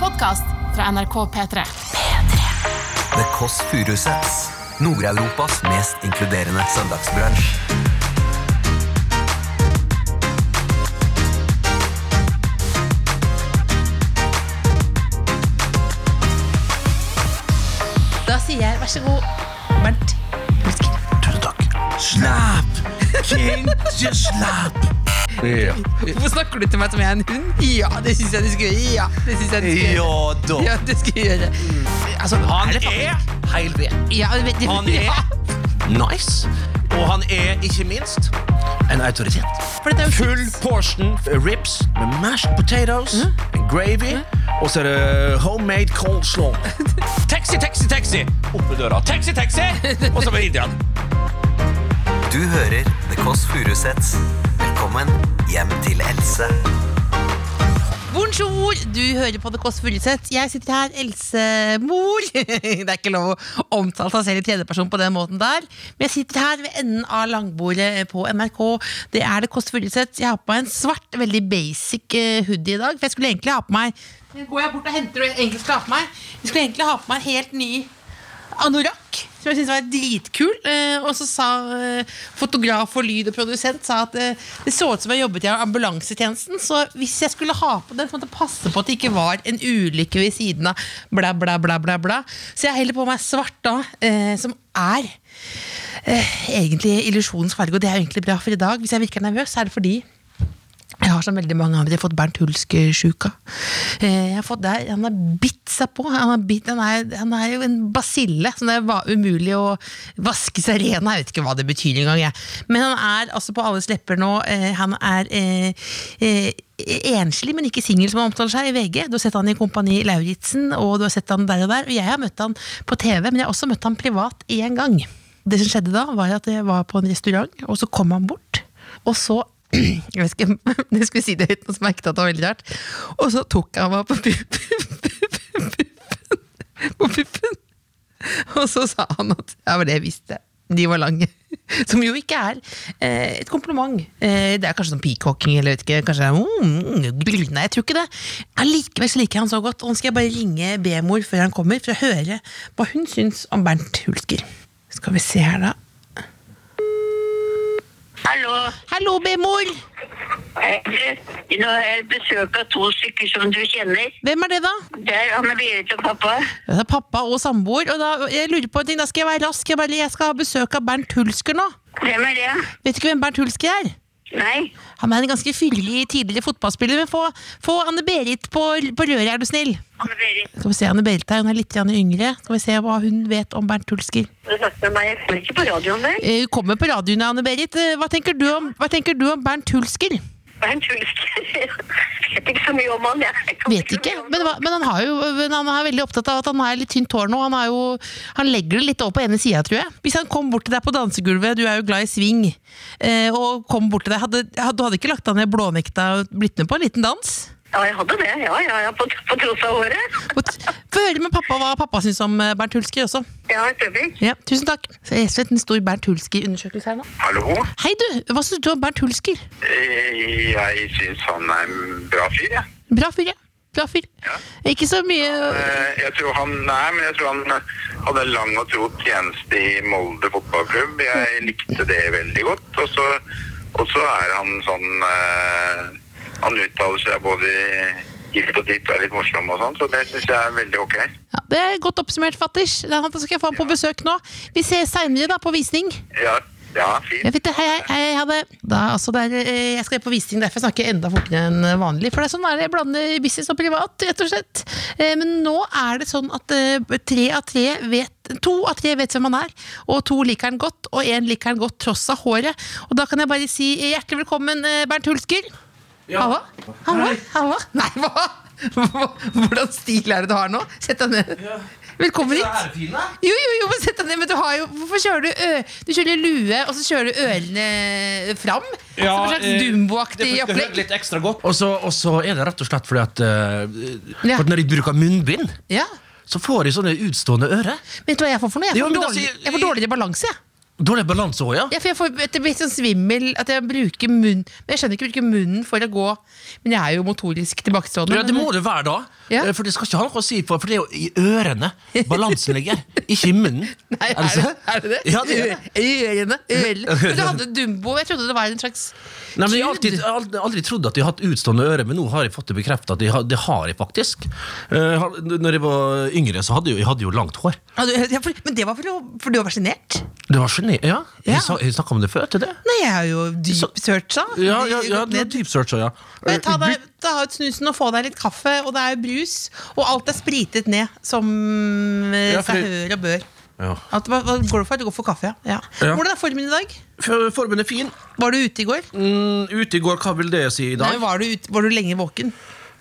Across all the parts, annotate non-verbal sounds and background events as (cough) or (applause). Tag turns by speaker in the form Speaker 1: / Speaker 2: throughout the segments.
Speaker 1: podkast fra NRK P3.
Speaker 2: The Kåss Furuseths. Nord-Europas mest inkluderende søndagsbransj.
Speaker 1: Da sier jeg vær så god, Bernt.
Speaker 2: Tusen takk. Slapp! King til slapp!
Speaker 1: Hvorfor snakker du til meg som jeg er en hund? Ja, det syns jeg du skulle gjøre. Ja, det synes jeg du skulle gjøre.
Speaker 2: Ja da.
Speaker 1: Ja, det skulle jeg gjøre. Altså,
Speaker 3: Han
Speaker 1: er det faktisk-
Speaker 3: er heil ved.
Speaker 1: Ja, det- det-
Speaker 3: Han
Speaker 1: (laughs) ja,
Speaker 3: er nice. Og han er ikke minst en autoritet.
Speaker 1: for dette er jo
Speaker 3: Full
Speaker 1: kids.
Speaker 3: portion ribs med mashed potatoes and gravy. Og så er det homemade
Speaker 1: (laughs)
Speaker 3: coleslaw. Taxi, taxi, taxi! Opp med døra. Taxi, taxi! Og så med
Speaker 1: (laughs)
Speaker 3: Indian.
Speaker 2: Du hører The Kåss Furuseths. Velkommen hjem til Else.
Speaker 1: Bonjour, du hører på The Kåss Furuseth. Jeg sitter her, Else Mor. (laughs) Det er ikke lov å omtale seg selv i tredjeperson på den måten der. Men jeg sitter her ved enden av langbordet på NRK. Det er The Kåss Furuseth. Jeg har på meg en svart, veldig basic eh, hoodie i dag. For jeg skulle egentlig ha på meg Men går jeg bort og henter det jeg egentlig skulle ha på meg? Jeg skulle egentlig ha på meg en helt ny anorakk, som jeg syntes var dritkul. Eh, og så sa eh, fotograf og lyd og produsent sa at eh, det så ut som jeg jobbet i ambulansetjenesten, så hvis jeg skulle ha på den, så måtte jeg passe på at det ikke var en ulykke ved siden av. Bla, bla, bla, bla, bla. Så jeg heller på meg svart da, eh, som er eh, egentlig illusjonens farge, og det er jo egentlig bra for i dag. Hvis jeg virker nervøs, så er det fordi jeg har som veldig mange andre fått Bernt Hulsk-sjuka. Eh, Jeg har fått det, han har bitt seg på. Han, har bitt, han, er, han er jo en basille, så det var umulig å vaske seg ren. Jeg vet ikke hva det betyr engang. Jeg. Men han er altså på alles lepper nå. Eh, Han er eh, eh, enslig, men ikke singel, som han omtaler seg i VG. Du har sett han i Kompani Lauritzen, og du har sett han der og der. Og jeg har møtt han på TV, men jeg har også møtt han privat én gang. Det som skjedde da, var at jeg var på en restaurant, og så kom han bort. Og så (clears throat) jeg vet ikke, om (laughs) jeg skulle si det høyt, men så merket jeg at det var veldig rart. Og så tok han meg på (laughs) puppen. På puppen. Og så sa han at Ja, men det visste jeg. De var lange. (laughs) Som jo ikke er eh, et kompliment. Eh, det er kanskje sånn peacocking eller vet ikke, kanskje mm, mm, Nei, jeg tror ikke det. Allikevel så liker jeg han så godt. Og nå skal jeg bare ringe B-mor før han kommer, for å høre hva hun syns om Bernt Hulsker. Skal vi se her, da.
Speaker 4: Hallo.
Speaker 1: Hallo, B-mor!
Speaker 4: Eh, Nå har jeg besøk av to stykker som du kjenner.
Speaker 1: Hvem er det, da?
Speaker 4: Det er Anne Berit og pappa.
Speaker 1: Det er pappa og samboer. Og da, jeg lurer på en ting, da skal jeg være rask. Jeg, bare, jeg skal ha besøk av Bernt Hulsker nå.
Speaker 4: Hvem er det?
Speaker 1: Vet du ikke hvem Bernt Hulsker er?
Speaker 4: Nei.
Speaker 1: Han er en ganske fyldig tidligere fotballspiller. Men få, få Anne-Berit på, på røret, er du snill.
Speaker 4: Anne Berit.
Speaker 1: Skal vi se, Anne-Berit her, hun er litt grann yngre. Skal vi se hva hun vet om Bernt Hulsker.
Speaker 4: Du snakket med meg. Jeg hører ikke på radioen der.
Speaker 1: Eh, Hun kommer på radioen, Anne-Berit. Eh, Hva, tenker du om- hva tenker du om Bernt Hulsker?
Speaker 4: Bernt Hulsker. Jeg vet ikke så mye om han. Jeg Jeg kan
Speaker 1: Vet ikke,
Speaker 4: så mye om
Speaker 1: men,
Speaker 4: han.
Speaker 1: hva- men han, har jo, men han er veldig opptatt av at han har litt tynt hår nå. Han, har jo, han legger det litt over på ene sida, tror jeg. Hvis han kom bort til deg på dansegulvet, du er jo glad i sving, eh, og kom bort til deg hadde, hadde, Du hadde ikke lagt deg ned blånekta og blitt med på en liten dans?
Speaker 4: Ja, jeg hadde det. Ja, ja, ja. På, på tross av håret.
Speaker 1: Og t- Få høre med pappa hva pappa syns om eh, Bernt Hulski også.
Speaker 4: Ja, et øyeblikk.
Speaker 1: Ja, tusen takk. Så jeg har en stor Bernt Hulski-undersøkelse her nå.
Speaker 5: Hallo?
Speaker 1: Hei, du! Hva syns du om Bernt Hulsker?
Speaker 5: Eh, Jeg syns han er en bra fyr, jeg.
Speaker 1: Bra fyr, ja. Bra fyr. Ikke så mye
Speaker 5: Eh, Jeg tror han, nei, men jeg tror han hadde en lang og tro tjeneste i Molde fotballklubb. Jeg likte det veldig godt. Og så, og så er han sånn eh, Han uttaler seg både hit og dit og er litt morsom og sånn, så det syns jeg er veldig ok.
Speaker 1: ja, Det er godt oppsummert, fatters. Da skal jeg få ham på besøk nå. Vi ses seinere, da, på visning.
Speaker 5: Ja, ja
Speaker 1: Jeg
Speaker 5: fint.
Speaker 1: vet det. Hei, hei, hei, ha det. Da, altså, det er, eh, jeg skal på visning, derfor snakker jeg enda fortere enn vanlig. For det er sånn er det, jeg blander business og privat, rett og slett. Eh, Men nå er det sånn at eh, tre av tre vet To av tre vet hvem han er, og to liker han godt, og én liker han godt tross av håret. Og da kan jeg bare si eh, hjertelig velkommen, eh, Bernt Hulsker. Halla? Halla? Halla? Nei, hva? Hvordan stil er det du har nå? Sett deg ned. Velkommen hit. Jo, jo, jo, men sett deg ned, men du har jo Hvorfor kjører du ø... Du kjører lue, og så kjører du ørene eh, fram? som en
Speaker 3: eh,
Speaker 1: slags dumboaktig opplegg?
Speaker 3: Litt ekstra godt. Og så, og så er det rett og slett fordi at,
Speaker 1: Ja.
Speaker 3: eh, for at når de bruker munnbind,
Speaker 1: Ja.
Speaker 3: så får de sånne utstående ører.
Speaker 1: Vet du hva jeg får for noe? Jeg
Speaker 3: Jo,
Speaker 1: får,
Speaker 3: men da
Speaker 1: dårlig,
Speaker 3: sier-
Speaker 1: jeg får dårligere balanse, jeg.
Speaker 3: Dårlig balanse òg, ja?
Speaker 1: Ja, for jeg får, det blir sånn svimmel at jeg bruker munn Men jeg skjønner ikke å bruke munnen for å gå. Men jeg er jo motorisk tilbakestående.
Speaker 3: Ja, det må det være da.
Speaker 1: Ja.
Speaker 3: Eh, For det skal ikke ha noe å si på, for det er jo i ørene balansen
Speaker 1: (laughs)
Speaker 3: ligger. Ikke i munnen.
Speaker 1: Nei, er,
Speaker 3: så?
Speaker 1: det, er det det?
Speaker 3: Ja, det er det.
Speaker 1: Ørene, (laughs) ørene. Men du hadde Dumbo. Jeg trodde det var en slags
Speaker 3: Nei, men jeg har
Speaker 1: gud.
Speaker 3: alltid, aldri, aldri trodd at de har hatt utstående øre, men nå har jeg fått det bekreftet at de har, det har jeg faktisk. Eh, har- når jeg var yngre, så hadde jeg, jo- jeg hadde jo langt hår.
Speaker 1: Ja, du- ja, for, men det var for, å- for du var sjenert?
Speaker 3: Det var geni, ja.
Speaker 1: Ja.
Speaker 3: Jeg, sa, jeg snakket om det før til det.
Speaker 1: Nei, jeg er jo dypsearcha.
Speaker 3: Ja, ja, ja,
Speaker 1: Gått
Speaker 3: det var
Speaker 1: ned.
Speaker 3: deep search, ja. Eh,
Speaker 1: Men ta, deg, ta ut snusen og få deg litt kaffe, og det er brus. Og alt er spritet ned som eh,
Speaker 3: Ja, for-
Speaker 1: seg hør og bør.
Speaker 3: Ja.
Speaker 1: At, hva, hva går du for? Du går for kaffe, ja. ja.
Speaker 3: Ja.
Speaker 1: Hvordan er formen i dag?
Speaker 3: For- Formen er fin.
Speaker 1: Var du ute i går?
Speaker 3: Mm, ute i går, hva vil det si i
Speaker 1: Nei,
Speaker 3: dag?
Speaker 1: var, du ut, var du lenge våken?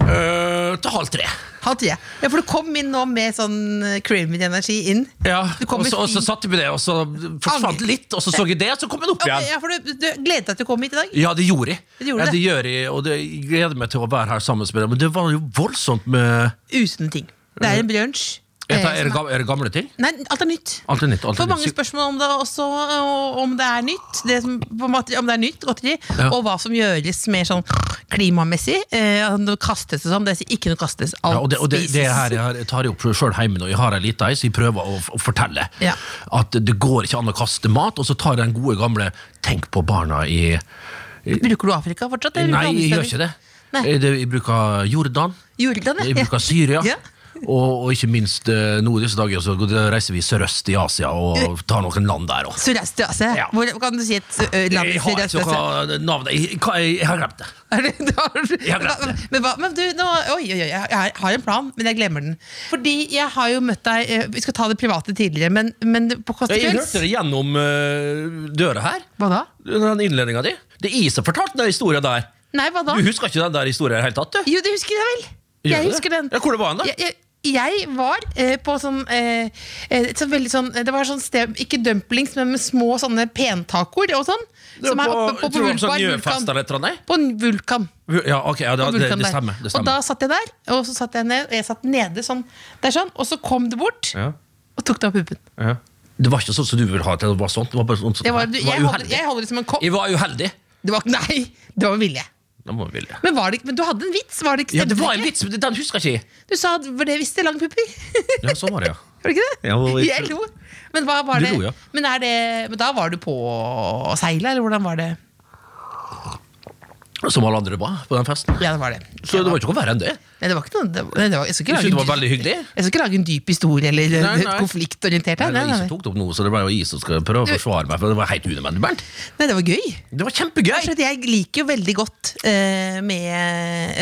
Speaker 3: Eh, til halv tre.
Speaker 1: Øh, Halv ti, ja. Ja, for du kom inn nå med sånn eh, creamy energi inn.
Speaker 3: Ja,
Speaker 1: Du kom
Speaker 3: og
Speaker 1: med
Speaker 3: så, og så
Speaker 1: fin-
Speaker 3: satte vi det, og så forsvant
Speaker 1: Angre.
Speaker 3: litt, og så så jeg det, og så kom den opp
Speaker 1: Ja,
Speaker 3: igjen.
Speaker 1: ja, for du, du gledet deg til å komme hit i dag?
Speaker 3: Ja, det gjorde jeg.
Speaker 1: Det gjorde
Speaker 3: ja,
Speaker 1: det.
Speaker 3: det gjør jeg, og det, jeg gleder meg til å være her sammen med deg. Men det var jo voldsomt med
Speaker 1: Usunne ting. Det er en brunsj.
Speaker 3: Jeg tar,
Speaker 1: eh,
Speaker 3: er, det
Speaker 1: som
Speaker 3: gamle, er det gamle ting?
Speaker 1: er- Nei, alt er nytt.
Speaker 3: Alt er nytt. Alt
Speaker 1: For
Speaker 3: er
Speaker 1: mange
Speaker 3: nytt.
Speaker 1: spørsmål om det også, og om det er nytt, det som, på en måte, om det er nytt godteri,
Speaker 3: Ja.
Speaker 1: og hva som gjøres mer sånn klimamessig. Eh, at det kastes og sånn, det sier ikke noe kastes, alt
Speaker 3: Ja, og det, og det, det
Speaker 1: spises.
Speaker 3: her jeg har- jeg tar jeg opp sjøl hjemme nå. Jeg har ei lita ei, så jeg prøver å, å fortelle
Speaker 1: Ja.
Speaker 3: at det går ikke an å kaste mat. Og så tar jeg den gode gamle 'tenk på barna' i
Speaker 1: Bruker du Afrika fortsatt? eller
Speaker 3: Nei,
Speaker 1: bruker du
Speaker 3: jeg
Speaker 1: andre
Speaker 3: gjør ikke det.
Speaker 1: Nei.
Speaker 3: Jeg, det. jeg bruker Jordan.
Speaker 1: steder? Jordan, ja.
Speaker 3: Jeg bruker Syria.
Speaker 1: Ja.
Speaker 3: Og, og ikke minst eh, nå i disse dager så går- reiser vi sørøst i Asia og tar noen land der òg.
Speaker 1: Sørøst-Asia.
Speaker 3: Ja.
Speaker 1: Hvor kan du si et ø, land i
Speaker 3: Jeg har ikke
Speaker 1: Sørøst-Asia?
Speaker 3: hva navnet jeg, hva- jeg, jeg har glemt det.
Speaker 1: Er det- da har du-
Speaker 3: Jeg har glemt
Speaker 1: Hva-
Speaker 3: det.
Speaker 1: Men, hva, men du, nå, oi, oi, oi, jeg har- har en plan, men jeg glemmer den. Fordi jeg har jo møtt deg eh, Vi skal ta det private tidligere, men, men på Kåss til
Speaker 3: Jeg
Speaker 1: kvelds
Speaker 3: hørte det gjennom eh, døra her.
Speaker 1: Hva da?
Speaker 3: Den innledninga di. Det er jeg som fortalte den historien der.
Speaker 1: Nei, hva da?
Speaker 3: Du husker ikke den der historien i det hele tatt, du?
Speaker 1: Jo, det husker jeg vel.
Speaker 3: Gjør
Speaker 1: Jeg
Speaker 3: du det?
Speaker 1: husker den.
Speaker 3: Ja, hvor det var hen, da?
Speaker 1: Jeg, jeg, jeg var eh, på sånn, eh, eh, et sånn veldig sånn Det var sånn sted, ikke dumplings, men med små sånne pentacoer og sånn.
Speaker 3: Det var
Speaker 1: Som er oppe på, på,
Speaker 3: tror du det var
Speaker 1: Vulkan.
Speaker 3: sånn Gjøfest
Speaker 1: vulkan.
Speaker 3: eller et eller annet?
Speaker 1: På en vulkan.
Speaker 3: Ja, ok, ja, det,
Speaker 1: på
Speaker 3: det,
Speaker 1: vulkan
Speaker 3: det
Speaker 1: der.
Speaker 3: stemmer. Det
Speaker 1: Og da
Speaker 3: stemmer.
Speaker 1: satt jeg der, og så satt jeg ned, og jeg satt nede sånn, der sånn, og så kom det bort
Speaker 3: Ja,
Speaker 1: og tok det av puppen.
Speaker 3: ja. Det var ikke sånn som du ville ha til det var sånn. Det var bare sånn som
Speaker 1: Jeg, var,
Speaker 3: det
Speaker 1: du,
Speaker 3: var
Speaker 1: jeg, holder,
Speaker 3: uheldig.
Speaker 1: jeg holder det som en kopp.
Speaker 3: Jeg var uheldig.
Speaker 1: Det var, (laughs) nei, det var med vilje.
Speaker 3: Det må vi ville.
Speaker 1: Men, var det, ikke- men du hadde en vits? Var det ikke
Speaker 3: Ja, det var en
Speaker 1: stemte det ikke?
Speaker 3: vits, men den husker jeg ikke.
Speaker 1: Du sa at for det visste lang pupper.
Speaker 3: Ja, sånn var det, ja.
Speaker 1: (laughs) Var det ikke det?
Speaker 3: Ja, og jeg
Speaker 1: jeg
Speaker 3: tror-
Speaker 1: lo. Men hva var
Speaker 3: Du
Speaker 1: det?
Speaker 3: lo, ja.
Speaker 1: Men, er det, men da var du på seilet, eller hvordan var det?
Speaker 3: Som alle andre var på den festen.
Speaker 1: Ja, det var det.
Speaker 3: Så det var ikke noe verre enn det.
Speaker 1: Nei, det var ikke noe det var, nei, det var, Jeg skal ikke
Speaker 3: Jeg
Speaker 1: lage,
Speaker 3: synes det var
Speaker 1: en
Speaker 3: veldig
Speaker 1: dyp-
Speaker 3: hyggelig.
Speaker 1: jeg skal ikke lage en dyp historie eller
Speaker 3: Nei, nei.
Speaker 1: konfliktorientert
Speaker 3: Det
Speaker 1: her. Nei,
Speaker 3: var
Speaker 1: nei,
Speaker 3: jeg som
Speaker 1: nei.
Speaker 3: tok det opp noe, så det ble jo jeg som skal prøve å forsvare meg. For det var helt unødvendig, Bernt.
Speaker 1: nei, det var gøy.
Speaker 3: Det var kjempegøy!
Speaker 1: For at jeg liker jo veldig godt eh, med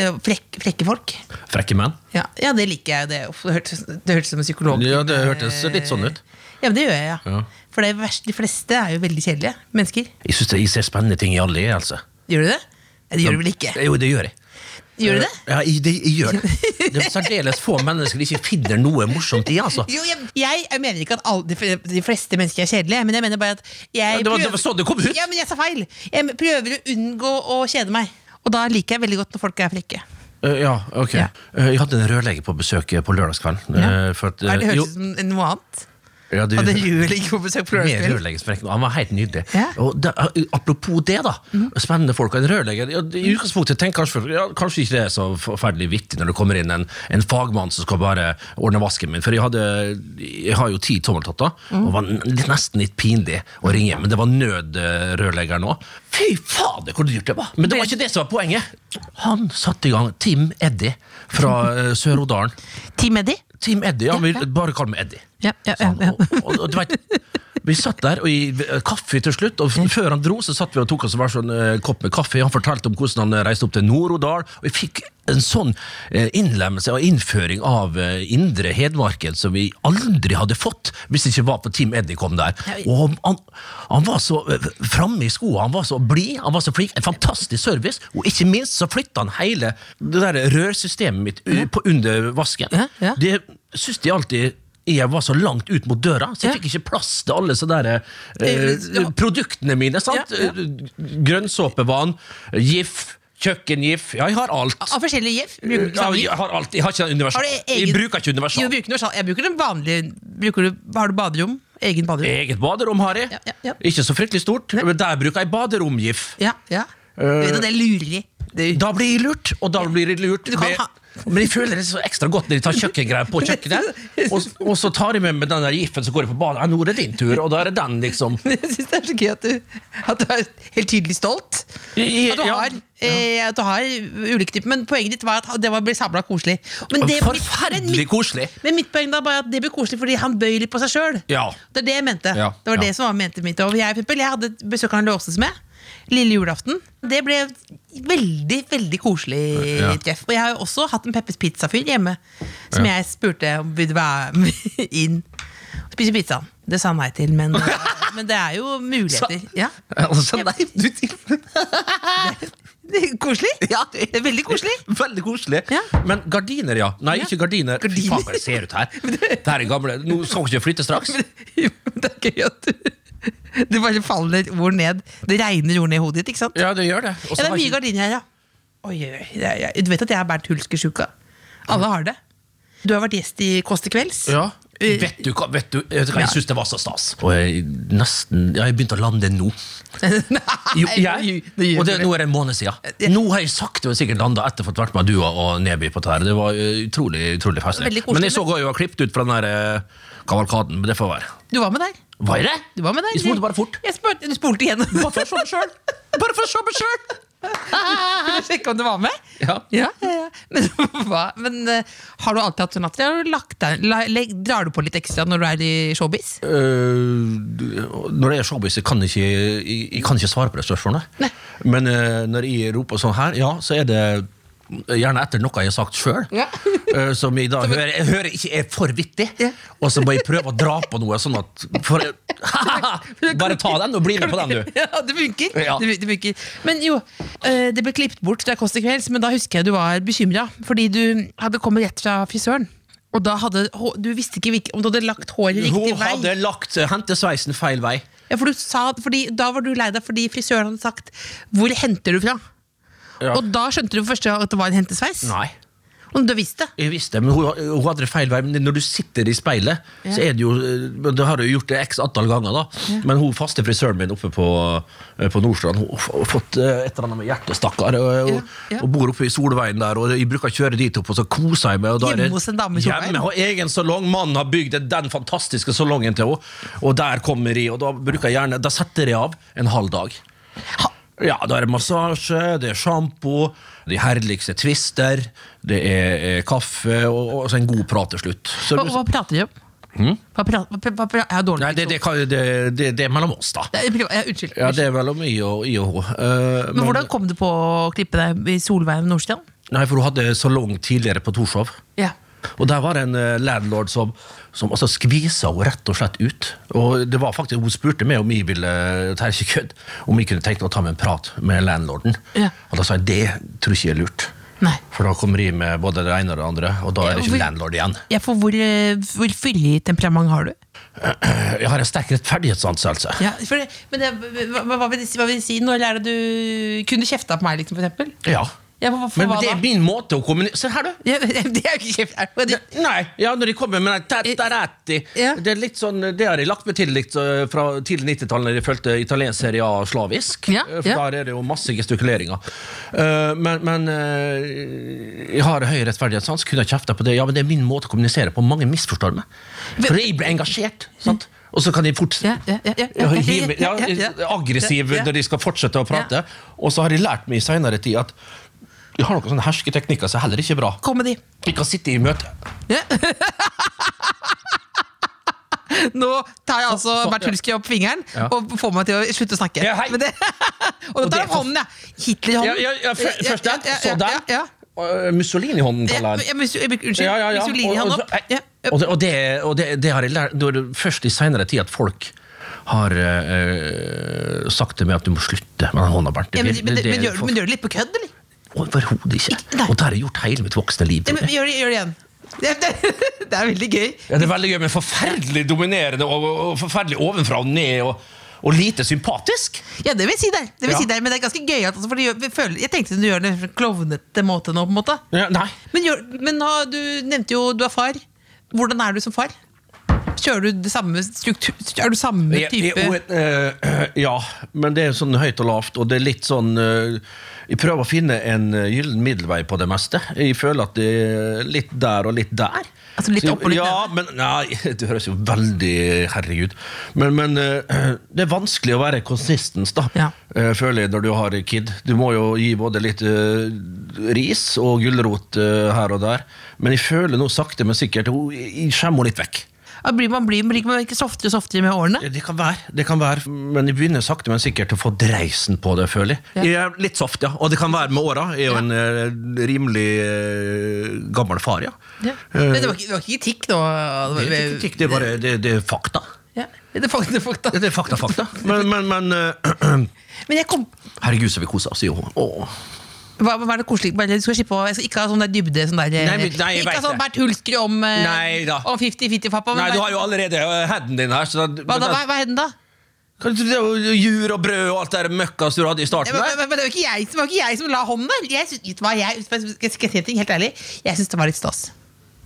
Speaker 1: eh, frekk, frekke folk.
Speaker 3: Frekke menn.
Speaker 1: Ja, ja, det liker jeg. Det, uff, det hørtes det hørtes ut som en psykolog.
Speaker 3: Ja, det hørtes litt sånn ut.
Speaker 1: Ja, men det gjør jeg, ja.
Speaker 3: Ja.
Speaker 1: For det verste, de fleste er jo veldig kjedelige mennesker.
Speaker 3: Jeg syns jeg ser spennende ting i alle, jeg, altså.
Speaker 1: Gjør du det? Nei, det gjør du vel ikke?
Speaker 3: Jo, det gjør jeg.
Speaker 1: Gjør du det?
Speaker 3: Ja, jeg, det, jeg gjør det.
Speaker 1: (laughs)
Speaker 3: Det er særdeles få mennesker de ikke finner noe morsomt i, altså.
Speaker 1: Jo, jeg, jeg, jeg mener ikke at alle, de, f- de fleste mennesker er kjedelige, men jeg mener bare at jeg
Speaker 3: det var- det var sånn det kom ut.
Speaker 1: Ja, men jeg sa feil! Jeg prøver å unngå å kjede meg. Og da liker jeg veldig godt når folk er frekke.
Speaker 3: Eh, ja, ok.
Speaker 1: Ja.
Speaker 3: Eh, jeg hadde en rørlegger på besøk eh, på lørdagskvelden. eh, for at, eh,
Speaker 1: Er det
Speaker 3: jo, Eh.
Speaker 1: hørtes ut som noe annet?
Speaker 3: ja, du-
Speaker 1: Hadde rørlegger på besøk på
Speaker 3: Med
Speaker 1: lørdagskvelden?
Speaker 3: rørleggersprekken. Han var helt nydelig.
Speaker 1: Ja.
Speaker 3: Og det, apropos det, da. Spennende folk. og En rørlegger ja, I utgangspunktet tenker kanskje folk ja, Kanskje ikke det er så forferdelig vittig når det kommer inn en, en fagmann som skal bare ordne vasken min. For jeg, hadde, jeg har jo ti tommeltotter, og var n- litt, nesten litt pinlig å ringe. Men det var nødrørlegger nå. Fy fader, hvor dyrt det var! Men det var ikke det som var poenget. Han satte i gang Tim Eddie fra eh, Sør-Odalen.
Speaker 1: Team Eddie?
Speaker 3: Team Eddie. Han vil
Speaker 1: Ja, ja.
Speaker 3: bare kalle meg Eddie.
Speaker 1: Ja, ja, ja,
Speaker 3: Sånn,
Speaker 1: ja.
Speaker 3: Og, og, og du vet, vi satt der og i eh, kaffe til slutt, og f- før han dro, så satt vi og tok oss hver sånn eh, kopp med kaffe. Han fortalte om hvordan han eh, reiste opp til Nord-Odal, og vi fikk en sånn eh, innlemmelse og innføring av eh, indre Hedmarken som vi aldri hadde fått hvis det ikke var på Team Eddie kom der. Og han- han, han var så eh, framme i skoa, han var så blid, han var så flink. En fantastisk service, og ikke minst så flytta han hele det der rørsystemet mitt u- på under vasken.
Speaker 1: Ja, ja.
Speaker 3: Det syns de alltid jeg var så langt ut mot døra, så jeg
Speaker 1: Ja.
Speaker 3: fikk ikke plass til alle så der, eh,
Speaker 1: Eh, ja.
Speaker 3: produktene mine. sant? Eh,
Speaker 1: Ja, ja.
Speaker 3: Grønnsåpevann, GIF, kjøkkengif. Ja, jeg har alt.
Speaker 1: Av forskjellige jeff? Bruker du
Speaker 3: Ja,
Speaker 1: samme
Speaker 3: jeg
Speaker 1: jeff?
Speaker 3: har alt. Jeg har ikke den
Speaker 1: Har
Speaker 3: universal.
Speaker 1: du egen-
Speaker 3: Jeg bruker ikke
Speaker 1: Jo,
Speaker 3: universal.
Speaker 1: bruker du, universal- jeg bruker den vanlige bruker du, Har du baderom? Egen baderom.
Speaker 3: Eget baderom har jeg.
Speaker 1: Ja, ja, ja.
Speaker 3: Ikke så fryktelig stort, men der bruker jeg baderomgif.
Speaker 1: Ja, ja. Du vet at det lurer de. Det-
Speaker 3: Da blir jeg lurt, og da blir jeg lurt.
Speaker 1: Du kan
Speaker 3: med-
Speaker 1: ha-
Speaker 3: Men jeg føler det så ekstra godt når jeg tar kjøkkengreier på kjøkkenet, og, og så tar jeg med meg den der gifen som går jeg på badet. Ja, nå er det din tur, og da er det den, liksom.
Speaker 1: (laughs) Jeg syns det er så gøy at du, at du er helt tydelig stolt. At du,
Speaker 3: Ja.
Speaker 1: har, eh, at du har ulike typer Men poenget ditt var at det var- ble sabla koselig. Men det, men
Speaker 3: Forferdelig
Speaker 1: mitt,
Speaker 3: koselig.
Speaker 1: men mitt poeng da var at det ble koselig fordi han bøy litt på seg sjøl.
Speaker 3: Ja.
Speaker 1: Det er det jeg mente.
Speaker 3: Ja,
Speaker 1: Det var
Speaker 3: ja.
Speaker 1: det som var mente mitt. Og jeg, for eksempel, jeg hadde et besøk av en låses med. Lille julaften. Det ble veldig veldig koselig
Speaker 3: Ja.
Speaker 1: treff. Og jeg har jo også hatt en Peppers Pizza-fyr hjemme som jeg spurte om ville være med inn og spise pizzaen. Det sa han nei til,
Speaker 3: (laughs)
Speaker 1: men, men det er jo muligheter.
Speaker 3: Sa-
Speaker 1: Ja.
Speaker 3: Altså, nei, du
Speaker 1: Det er koselig.
Speaker 3: Ja,
Speaker 1: det er veldig koselig.
Speaker 3: (laughs) Veldig koselig.
Speaker 1: Ja.
Speaker 3: Men gardiner, ja. Nei,
Speaker 1: Ja.
Speaker 3: ikke gardiner. Fy faen, hva det ser
Speaker 1: (laughs)
Speaker 3: ut her. Det her er gamle. Nå skal vi ikke flytte straks.
Speaker 1: Jo, men Det er gøy at du Det bare faller ord ned. Det regner ord ned i hodet ditt, ikke sant?
Speaker 3: Ja, det gjør det. Og så
Speaker 1: Ja, det er
Speaker 3: har
Speaker 1: mye
Speaker 3: ikke-
Speaker 1: gardiner her, ja. Oi, oi, oi. Det er, jeg, du vet at jeg er Bernt Hulsker-sjuka? Alle har det. Du har vært gjest i Kåss til kvelds.
Speaker 3: Ja.
Speaker 1: Eh,
Speaker 3: Vet du hva, vet du, vet du hva? jeg syns det var så stas? Og jeg nesten Ja, jeg begynte å lande nå. Jo,
Speaker 1: (laughs) Nei, nå
Speaker 3: jeg,
Speaker 1: lju- nå ljuger
Speaker 3: og det,
Speaker 1: du.
Speaker 3: nå er det en måned siden. Nå har jeg sakte, men sikkert landa etter å ha vært med Dua og Neby på dette. her. Det var eh, utrolig utrolig festlig.
Speaker 1: Veldig koselig,
Speaker 3: Men jeg så
Speaker 1: men-
Speaker 3: også jeg var klippet ut fra den der eh, kavalkaden. Men det får være.
Speaker 1: Du var med der.
Speaker 3: Var jeg det?
Speaker 1: Du var med der.
Speaker 3: Jeg spolte bare fort.
Speaker 1: Jeg spurte- du spolte igjen.
Speaker 3: Bare for å se meg selv. Bare for å se meg sjøl!
Speaker 1: (laughs) Skulle jeg sjekke om du var med?
Speaker 3: Ja.
Speaker 1: Ja, ja, ja. Men, (laughs) hva? Men eh, har du alltid hatt sånn at du har lagt deg, la, legg, Drar du på litt ekstra når du er i showbiz?
Speaker 3: Øh, du- når jeg er showbiz, jeg kan ikke, jeg, jeg kan ikke svare på det spørsmålet.
Speaker 1: Nei.
Speaker 3: Men øh, når jeg roper sånn her, ja, så er det gjerne etter noe jeg har sagt sjøl. (laughs)
Speaker 1: Ja.
Speaker 3: som jeg da hører, jeg hører ikke er for vittig.
Speaker 1: Ja.
Speaker 3: Og så må jeg prøve å dra på noe sånn at
Speaker 1: (laughs)
Speaker 3: for, (laughs) Bare ta den og bli med på den, du.
Speaker 1: Ja, det funker.
Speaker 3: Ja.
Speaker 1: Det, det funker. Men jo, eh, det ble klippet bort fra Kåss til kvelds, men da husker jeg du var bekymra. Fordi du hadde kommet rett fra frisøren. Og da hadde hå- du visste ikke hvilke- om du hadde lagt håret riktig
Speaker 3: Hun
Speaker 1: vei.
Speaker 3: hadde lagt øh, hentesveisen feil vei.
Speaker 1: Ja, for du sa, fordi, da var du lei deg fordi frisøren hadde sagt 'hvor henter du fra?'
Speaker 3: Ja.
Speaker 1: Og da skjønte du først at det var en hentesveis.
Speaker 3: Nei.
Speaker 1: Om du visste.
Speaker 3: Jeg visste, men hun, hun hadde det feil vei. Men når du sitter i speilet, så er det jo men Det har jeg jo gjort det x antall ganger, da. Men hun faste frisøren min oppe på, eh, på Nordstrand Hun har fått eh, et eller annet med hjertet, stakkar. Og, og,
Speaker 1: Ja, ja.
Speaker 3: og bor oppe i Solveien der, og jeg bruker å kjøre dit opp, og så koser jeg meg. Og da er det-
Speaker 1: Hjemme hos en dame i Solveien?
Speaker 3: Hjemme, har egen salong. Mannen har bygd den fantastiske salongen til henne, og der kommer jeg, og da bruker jeg gjerne Da setter jeg av en halv dag. Ja, da er det massasje, det er sjampo, de herligste twister, det er, er kaffe og, og så en god prat til slutt. Så,
Speaker 1: Hva, hva prater de om? Hva pra, hva, hva, hva, jeg har dårlig
Speaker 3: Hmm? nei, det, det, kan- det, det, det er mellom oss, da.
Speaker 1: Det er privat- ja, Unnskyld.
Speaker 3: Ja,
Speaker 1: unnskyld.
Speaker 3: det er mellom meg og i og hun. Eh,
Speaker 1: men, hvordan kom du på å klippe deg i Solveien og Nordstrand?
Speaker 3: Nei, for hun hadde salong tidligere på Torshov.
Speaker 1: Ja.
Speaker 3: Og der var det en eh, landlord som, som altså skvisa henne rett og slett ut. Og det var faktisk, Hun spurte meg om jeg ville det er ikke kødd, om jeg kunne tenke meg å ta meg en prat med landlorden.
Speaker 1: Ja.
Speaker 3: Og da sa jeg det tror ikke jeg er lurt.
Speaker 1: Nei.
Speaker 3: For da kommer de med både det ene og det andre, og da er
Speaker 1: Ja,
Speaker 3: det
Speaker 1: hvor-
Speaker 3: ikke landlord igjen.
Speaker 1: Ja, for hvor, eh, hvor fyldig temperament har du?
Speaker 3: Jeg har en sterk altså. rettferdighetsanseelse.
Speaker 1: Ja, for det, men det, hva, hva, vil det, si- hva vil det si? Når er det du kunne kjefta på meg, liksom, for eksempel?
Speaker 3: Ja.
Speaker 1: Ja, for, for
Speaker 3: Men
Speaker 1: hva
Speaker 3: det
Speaker 1: da?
Speaker 3: er min måte å kommunisere Se her, du!
Speaker 1: Ja, (laughs) det er jo ikke kjeft. er det- det-
Speaker 3: Nei, ja, når de kommer med den tataretti
Speaker 1: Ja.
Speaker 3: Det er litt sånn, det har jeg lagt meg til litt eh, fra tidlig 90-tallet, da jeg fulgte italiensk serie A slavisk.
Speaker 1: Ja,
Speaker 3: Eh, For
Speaker 1: ja.
Speaker 3: der er det jo masse gestikuleringer. Eh, men men eh, jeg har høy rettferdighetssans, kunne jeg kjefta på det. Ja, men det er min måte å kommunisere på. Mange misforstår meg. For jeg blir engasjert, sant? Og så kan de fort
Speaker 1: Ja, ja, ja, ja, ja,
Speaker 3: Ja,
Speaker 1: ja,
Speaker 3: hiv-
Speaker 1: ja,
Speaker 3: ja,
Speaker 1: ja.
Speaker 3: aggressiv
Speaker 1: Ja, ja.
Speaker 3: når de skal fortsette å prate. Og så har de lært meg i seinere tid at de har noen sånne hersketeknikker som heller ikke er bra.
Speaker 1: Kom med de.
Speaker 3: De kan sitte i møte.
Speaker 1: Nå tar jeg altså
Speaker 3: så-
Speaker 1: Bert
Speaker 3: ja.
Speaker 1: Hulsker opp fingeren
Speaker 3: Ja.
Speaker 1: og får meg til å slutte å snakke.
Speaker 3: Ja, hei.
Speaker 1: Men det, (laughs) og nå tar
Speaker 3: Og det
Speaker 1: han
Speaker 3: er for-
Speaker 1: hånden, ja. Hitler-hånden.
Speaker 3: Ja, ja, ja, fø- først den,
Speaker 1: ja,
Speaker 3: så
Speaker 1: ja,
Speaker 3: den.
Speaker 1: Ja, ja.
Speaker 3: Og, eh, Mussolini-hånden, kaller
Speaker 1: Ja,
Speaker 3: jeg den.
Speaker 1: ja, men- Unnskyld.
Speaker 3: Ja, ja, ja.
Speaker 1: Mussolini-hånden
Speaker 3: Og- og-
Speaker 1: opp. Ja, ja.
Speaker 3: Og, det, og, det, og det, det har jeg lært Når det først i senere tid at folk har eh, eh, sagt til meg at du må slutte med den hånda, Bernt. Det
Speaker 1: Ja, men,
Speaker 3: blir-
Speaker 1: men,
Speaker 3: det-
Speaker 1: men,
Speaker 3: det-
Speaker 1: gjør, men gjør det litt på kødd, eller?
Speaker 3: Overhodet ikke.
Speaker 1: Nei.
Speaker 3: Og det har jeg gjort hele mitt voksne liv.
Speaker 1: Ja, men, gjør, det, gjør det igjen. Det, det, det er (laughs) veldig gøy.
Speaker 3: Ja, det er veldig gøy, men forferdelig dominerende og, og forferdelig ovenfra og ned. og og lite sympatisk?
Speaker 1: Ja, det vil jeg si der. Det vil jeg
Speaker 3: Ja.
Speaker 1: si der men det er ganske gøy. At, altså, for det gjør, vi føler, jeg tenkte du gjør det på en klovnete måte nå, på en måte.
Speaker 3: Ja, nei.
Speaker 1: Men, gjør, men nå, du nevnte jo du er far. Hvordan er du som far? Kjører du det samme struktur Er du samme
Speaker 3: Ja,
Speaker 1: type
Speaker 3: ja, og, eh, (clears throat) ja, men det er sånn høyt og lavt, og det er litt sånn eh, Jeg prøver å finne en eh, gyllen middelvei på det meste. Jeg føler at det er litt der og litt der.
Speaker 1: Altså litt
Speaker 3: Så jeg-
Speaker 1: opp og litt
Speaker 3: ja, men, Nei, (laughs) det høres jo veldig herrig ut. Men, men eh, (clears throat) det er vanskelig å være konsistens, da.
Speaker 1: Ja.
Speaker 3: eh, føler jeg, når du har kid. Du må jo gi både litt eh, ris og gulrot eh, her og der. Men jeg føler nå sakte, men sikkert hun- Jeg jeg skjemmer henne litt vekk.
Speaker 1: Ja, blir man, blir, blir man ikke softere og softere med årene?
Speaker 3: Ja, Det kan være, det kan være men jeg begynner sakte, men sikkert å få dreisen på det, føler jeg.
Speaker 1: Ja.
Speaker 3: Jeg er litt soft, ja. Og det kan være med åra. Jeg er jo en eh, rimelig eh, gammel far, ja.
Speaker 1: Ja.
Speaker 3: Eh,
Speaker 1: Men det var ikke, det var ikke kritikk nå? Det
Speaker 3: det
Speaker 1: var,
Speaker 3: er ikke kritikk, det er bare det, det er fakta.
Speaker 1: ja. det er fakta, fakta.
Speaker 3: Ja, Det er fakta, fakta. Men, men, men eh, (clears throat)
Speaker 1: Men jeg kom
Speaker 3: Herregud, så vi koser oss, sier hun. Åh.
Speaker 1: hva, hva er det koselig? Bare, du skal slippe å, jeg skal ikke ha sånn der dybde sånn der,
Speaker 3: Nei, men- nei, jeg
Speaker 1: Ikke
Speaker 3: vet
Speaker 1: ha sånn
Speaker 3: det.
Speaker 1: Bernt Hulsker om eh,
Speaker 3: Nei da.
Speaker 1: Om 50-50-pappa.
Speaker 3: Nei, du har jo allerede eh, headen din her. Så da,
Speaker 1: hva, da, hva, hva er den da?
Speaker 3: Kan du- det er jo Jur og brød og alt det der møkka som du hadde i
Speaker 1: Ja,
Speaker 3: starten
Speaker 1: Men,
Speaker 3: der.
Speaker 1: men, men det var ikke jeg som, det var ikke jeg som la hånden der. Jeg synes, vet du hva, jeg, skal jeg si en ting, helt ærlig? Jeg syns det var litt stas.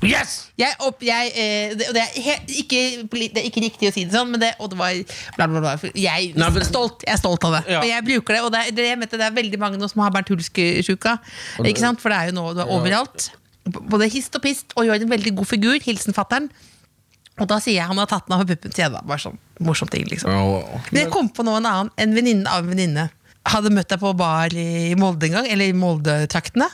Speaker 3: Yes!
Speaker 1: Jeg opp, jeg, eh, det, og det, er helt, ikke, poli- det er ikke riktig å si det sånn, men det, og det var bla, bla, bla. Jeg,
Speaker 3: Nei, men-
Speaker 1: stolt, jeg er stolt av det.
Speaker 3: Ja.
Speaker 1: Og jeg bruker det, og det, er- det, er- jeg mente, det er veldig mange nå som har Bernt Hulske-sjuka. Ikke sant? For det er jo nå det er overalt. B- Både hist og pist, og gjør en veldig god figur. Hilsen fatter'n. Og da sier jeg han har tatt den av puppen til jeg, da. Bare sånn morsom ting, liksom. Men jeg kom på noe en annen. En venninne av en venninne hadde møtt deg på bar i Molde en gang, eller i Molde-traktene.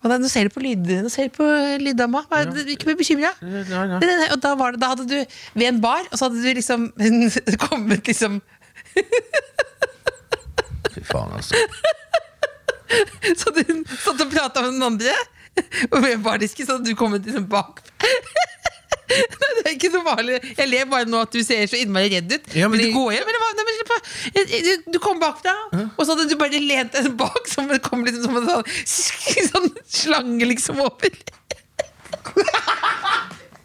Speaker 1: Og da, nå ser du på, lyd, nå ser du på lyddama. Hva er det- Ikke bli bekymra. Nei, nei, nei. Og da, var det, da hadde du ved en bar, og så hadde du liksom (laughs) kommet liksom
Speaker 3: Fy faen, altså.
Speaker 1: Så hadde hun satt og prata med den andre, og ved bardisken så hadde du kommet liksom bak. Nei, det er ikke så farlig. Jeg ler bare nå at du ser så innmari redd ut.
Speaker 3: Ja, men
Speaker 1: Vil du
Speaker 3: jeg-
Speaker 1: gå hjem, eller hva? Nei, men slapp av. Du- Du kom bakfra, og så hadde du bare lent deg bak, som det kom liksom som en sånn, sånn (laughs) slange liksom over.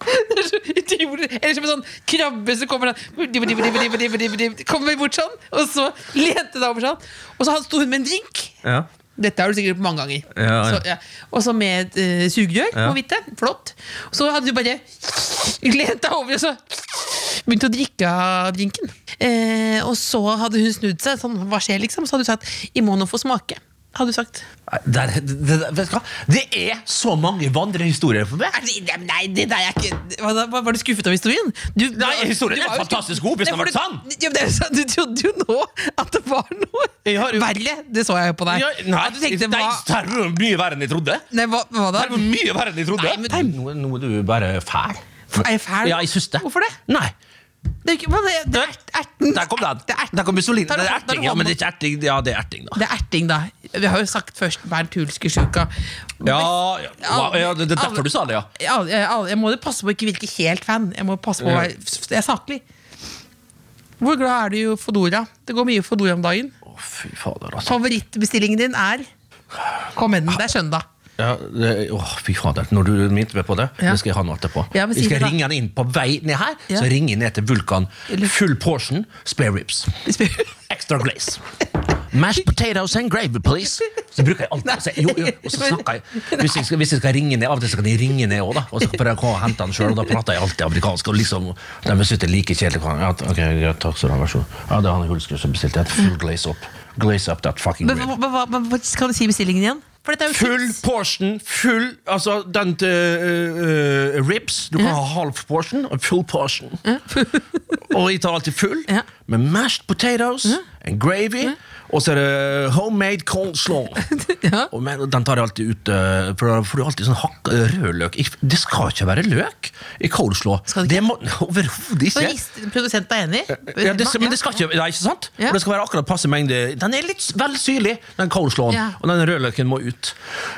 Speaker 1: Det er så (laughs) utrolig. Eller som en sånn krabbe som kommer sånn dibbe, dibbe, dibbe, dibbe, dibbe, dibbe, dibbe, Kommer bort sånn, og så lente deg over sånn. Og så sto hun med en drink.
Speaker 3: Ja.
Speaker 1: Dette har du sikkert gjort mange ganger.
Speaker 3: Ja, ja.
Speaker 1: Så, ja. Og så med et eh, sugerør,
Speaker 3: Ja.
Speaker 1: må vite. Flott. Så hadde du bare lent deg over og så begynte å drikke av drinken. Eh, og så hadde hun snudd seg, sånn, hva skjer liksom? Så hadde du sagt 'I må nå få smake'. Hadde du sagt.
Speaker 3: Nei, Der, det, det, vet du hva? det er så mange vandrehistorier for meg!
Speaker 1: Er det- Nei, nei, det der er ikke hva, da- hva- Var du skuffet over historien? Du,
Speaker 3: Nei, historien
Speaker 1: du
Speaker 3: er
Speaker 1: var jo skuffet.
Speaker 3: fantastisk god, hvis
Speaker 1: Nei,
Speaker 3: den
Speaker 1: for
Speaker 3: hadde vært
Speaker 1: du- Ja, men det er jo sant, du trodde jo nå at det var noe
Speaker 3: Jeg har jo-
Speaker 1: verre. Det så jeg jo på deg.
Speaker 3: Ja, nei,
Speaker 1: at du tenkte,
Speaker 3: nei,
Speaker 1: hva,
Speaker 3: det er jo mye verre enn jeg trodde.
Speaker 1: nei, hva, hva da?
Speaker 3: Det er jo mye verre enn jeg trodde.
Speaker 1: Nei, men-
Speaker 3: nå, nå er du bare fæl.
Speaker 1: Er jeg fæl?
Speaker 3: Ja, jeg syns det.
Speaker 1: Hvorfor det?
Speaker 3: Nei.
Speaker 1: Det er, ikke, hva, det, det er ert- erten.
Speaker 3: Der kom den.
Speaker 1: Det er erten.
Speaker 3: Der kom Mussolini.
Speaker 1: Tar
Speaker 3: Det
Speaker 1: du
Speaker 3: er
Speaker 1: hånd- tar
Speaker 3: erting,
Speaker 1: du
Speaker 3: ja,
Speaker 1: hånd-
Speaker 3: men det er ikke erting. Ja, det er erting, da.
Speaker 1: det er erting, da. Vi har jo sagt først Bernt Hulsker-sjuka.
Speaker 3: Ja, ja, wow, ja, det er
Speaker 1: Alle-
Speaker 3: derfor du sa det, ja.
Speaker 1: alle- alle- alle- Jeg må jo passe på å ikke virke helt fan. Jeg må passe på å
Speaker 3: Ja.
Speaker 1: være jeg er saklig. Hvor glad er du i Fodora? Det går mye Fodora om dagen.
Speaker 3: Å, fy fader, altså.
Speaker 1: Favorittbestillingen din er Kom med den, det er søndag.
Speaker 3: Ja, det, å, fy fader. Når du minte meg på det,
Speaker 1: Ja.
Speaker 3: det skal jeg ha noe etterpå.
Speaker 1: Ja, men
Speaker 3: jeg
Speaker 1: si
Speaker 3: skal
Speaker 1: det da.
Speaker 3: ringe han inn på vei ned her,
Speaker 1: Ja.
Speaker 3: så ringer jeg ned til Vulkan.
Speaker 1: Eller-
Speaker 3: Full portion, spare ribs. Extra glaze. Mashed potatoes and gravy, please. Så bruker jeg alltid å si jo, jo, og så snakker jeg. Hvis jeg skal, hvis jeg skal ringe ned, Av og til så kan jeg ringe ned òg, da. Og så prøver jeg å komme og hente han sjøl, og da prater jeg alltid amerikansk. Og liksom, de synes det er like kjedelig. kan- Ja, ok, greit, takk skal du ha, vær så god. Ja, det er han Hulsker som bestilte. et Full glaze up. Glaze up that
Speaker 1: (laughs)
Speaker 3: fucking
Speaker 1: Men,
Speaker 3: rib.
Speaker 1: hva- hva- hva- hva skal du si i bestillingen igjen? For dette er jo
Speaker 3: Full
Speaker 1: tips.
Speaker 3: portion, full Altså den til øh, øh, ribs. Du kan ha half portion og full portion. (laughs) og jeg tar alltid full,
Speaker 1: Ja.
Speaker 3: med mashed potatoes and gravy. Og så er det homemade
Speaker 1: (laughs)
Speaker 3: coleslaw. og men, den tar jeg alltid ut, øh, for da får du alltid sånn hakk, øh, rødløk. Ik- Det skal ikke være løk i coleslaw.
Speaker 1: Skal det
Speaker 3: det må (laughs) Overhodet
Speaker 1: Og
Speaker 3: ikke.
Speaker 1: rist- Produsenten er enig?
Speaker 3: Ja, det, men det skal ikke, nei, ikke sant?
Speaker 1: Ja.
Speaker 3: For det skal være akkurat passe mengde. Den er litt s- vel syrlig, den coleslawen.
Speaker 1: Ja.
Speaker 3: Og den rødløken må ut.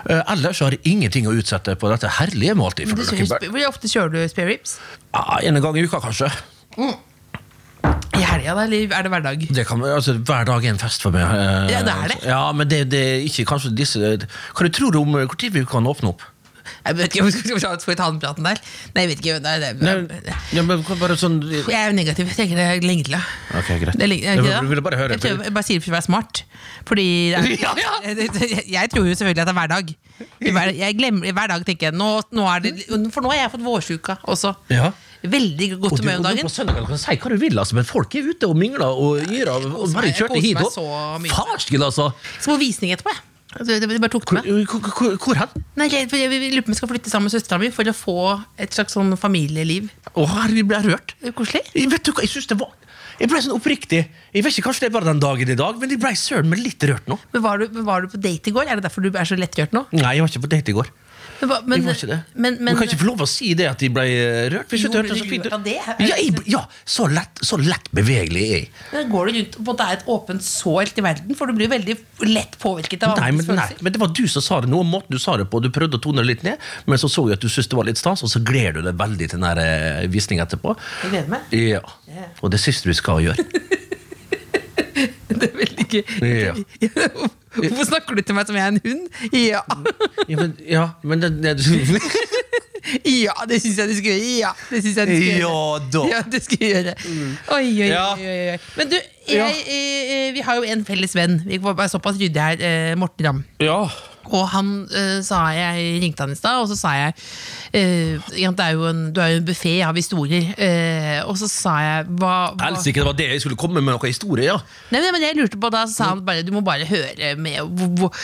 Speaker 3: Eh, ellers har jeg ingenting å utsette på dette herlige
Speaker 1: Men
Speaker 3: måltidet. for
Speaker 1: du kjører,
Speaker 3: Løkkeberg.
Speaker 1: sp- hvor ofte kjører du spare ribs?
Speaker 3: Ah, en gang i uka, kanskje.
Speaker 1: I helga, da? Eller er det hverdag?
Speaker 3: Det kan, være- altså, hver dag er en fest for meg. eh,
Speaker 1: Ja, det er det.
Speaker 3: Ja, men det, det er ikke kanskje disse Hva du tror du om eh, hvor tid vi kan åpne opp?
Speaker 1: Jeg vet ikke (laughs) om vi skal skal vi ta den praten der. Nei, jeg vet ikke. Nei, det,
Speaker 3: Nei, ja, men bare sånn
Speaker 1: jeg er jo negativ. Jeg tenker det er lenge til. da.
Speaker 3: Ok, greit.
Speaker 1: Det er lenge- er det
Speaker 3: Jeg
Speaker 1: ikke det?
Speaker 3: ville bare høre.
Speaker 1: Jeg, prøver, jeg bare sier det for å være smart. Fordi det er,
Speaker 3: (laughs) Ja, ja.
Speaker 1: (laughs) Jeg, jeg tror jo selvfølgelig at det er hver dag. I hver, jeg glemmer, i hver dag tenker jeg nå, nå er det, For nå har jeg fått vårsjuka også.
Speaker 3: Ja.
Speaker 1: Veldig
Speaker 3: Og
Speaker 1: godt
Speaker 3: du,
Speaker 1: humør
Speaker 3: og
Speaker 1: om
Speaker 3: du
Speaker 1: dagen.
Speaker 3: på søndagen kan si hva du vil, altså, men folk er ute og mingler og yr av. Og bare
Speaker 1: meg- jeg
Speaker 3: kjørte
Speaker 1: koser
Speaker 3: hit
Speaker 1: meg
Speaker 3: opp.
Speaker 1: så mye.
Speaker 3: Farsken, altså!
Speaker 1: Skal på visning etterpå, jeg. Altså, Det, det, det bare tok
Speaker 3: Hvor,
Speaker 1: meg.
Speaker 3: hvor, hvor, hvor hen?
Speaker 1: Nei, jeg, jeg, jeg lurer på om jeg skal flytte sammen med søstera mi for å få et slags sånn familieliv.
Speaker 3: Å, herregud, ble jeg rørt.
Speaker 1: Det er jo Koselig.
Speaker 3: Jeg vet du hva, jeg synes det var Jeg ble sånn oppriktig Jeg vet ikke, kanskje det er bare den dagen i dag Men jeg ble søren meg litt rørt nå
Speaker 1: Men var, du, men var du på date i går? Er det derfor du er så lettrørt nå?
Speaker 3: Nei, jeg var ikke på date i går
Speaker 1: Men, hva- men,
Speaker 3: Jeg var ikke det
Speaker 1: Men, men,
Speaker 3: Du kan ikke få lov å si det at jeg ble eh, rørt Hvis
Speaker 1: Jo,
Speaker 3: du
Speaker 1: blir
Speaker 3: ikke hørte
Speaker 1: du
Speaker 3: så fint
Speaker 1: lurt av
Speaker 3: ut
Speaker 1: det?
Speaker 3: ja, jeg, ble- ja, så lett, så lett bevegelig er jeg
Speaker 1: men går du rundt og på en måte er et åpent sår til verden? For du blir veldig lett påvirket av
Speaker 3: Nei, men,
Speaker 1: andres
Speaker 3: nei,
Speaker 1: følelser. (laughs)
Speaker 3: men det var du som sa det nå Måten du sa det på, du prøvde å tone det litt ned Men så så jeg at du synes det var litt stans Og så gleder du deg veldig til den der eh, visningen etterpå
Speaker 1: Jeg gleder meg.
Speaker 3: Ja,
Speaker 1: Ja.
Speaker 3: og det siste du skal gjøre
Speaker 1: (laughs) Det er veldig gøy.
Speaker 3: Ja.
Speaker 1: (laughs) Hvorfor snakker du til meg som jeg er en hund? Ja, (laughs)
Speaker 3: Ja, men, ja, men det, det,
Speaker 1: ja det syns jeg du skal gjøre. Ja, det synes jeg du skal gjøre.
Speaker 3: Ja da. Mm.
Speaker 1: Ja, det skal jeg gjøre. Oi, oi,
Speaker 3: Ja.
Speaker 1: oi, oi, oi. Men du, jeg,
Speaker 3: Ja.
Speaker 1: eh, vi har jo en felles venn. Vi var bare såpass ryddig her. eh, Morten Ramm.
Speaker 3: Ja
Speaker 1: Og han eh, sa jeg ringte han i stad, og så sa jeg eh, ja, det er jo en, Du er jo en buffé av historier. eh, og så sa jeg hva, hva
Speaker 3: Helsike, det var det jeg skulle komme med noen historie, ja.
Speaker 1: Nei, nei, men jeg lurte på Da så sa han bare du må bare høre med hvor- hvor-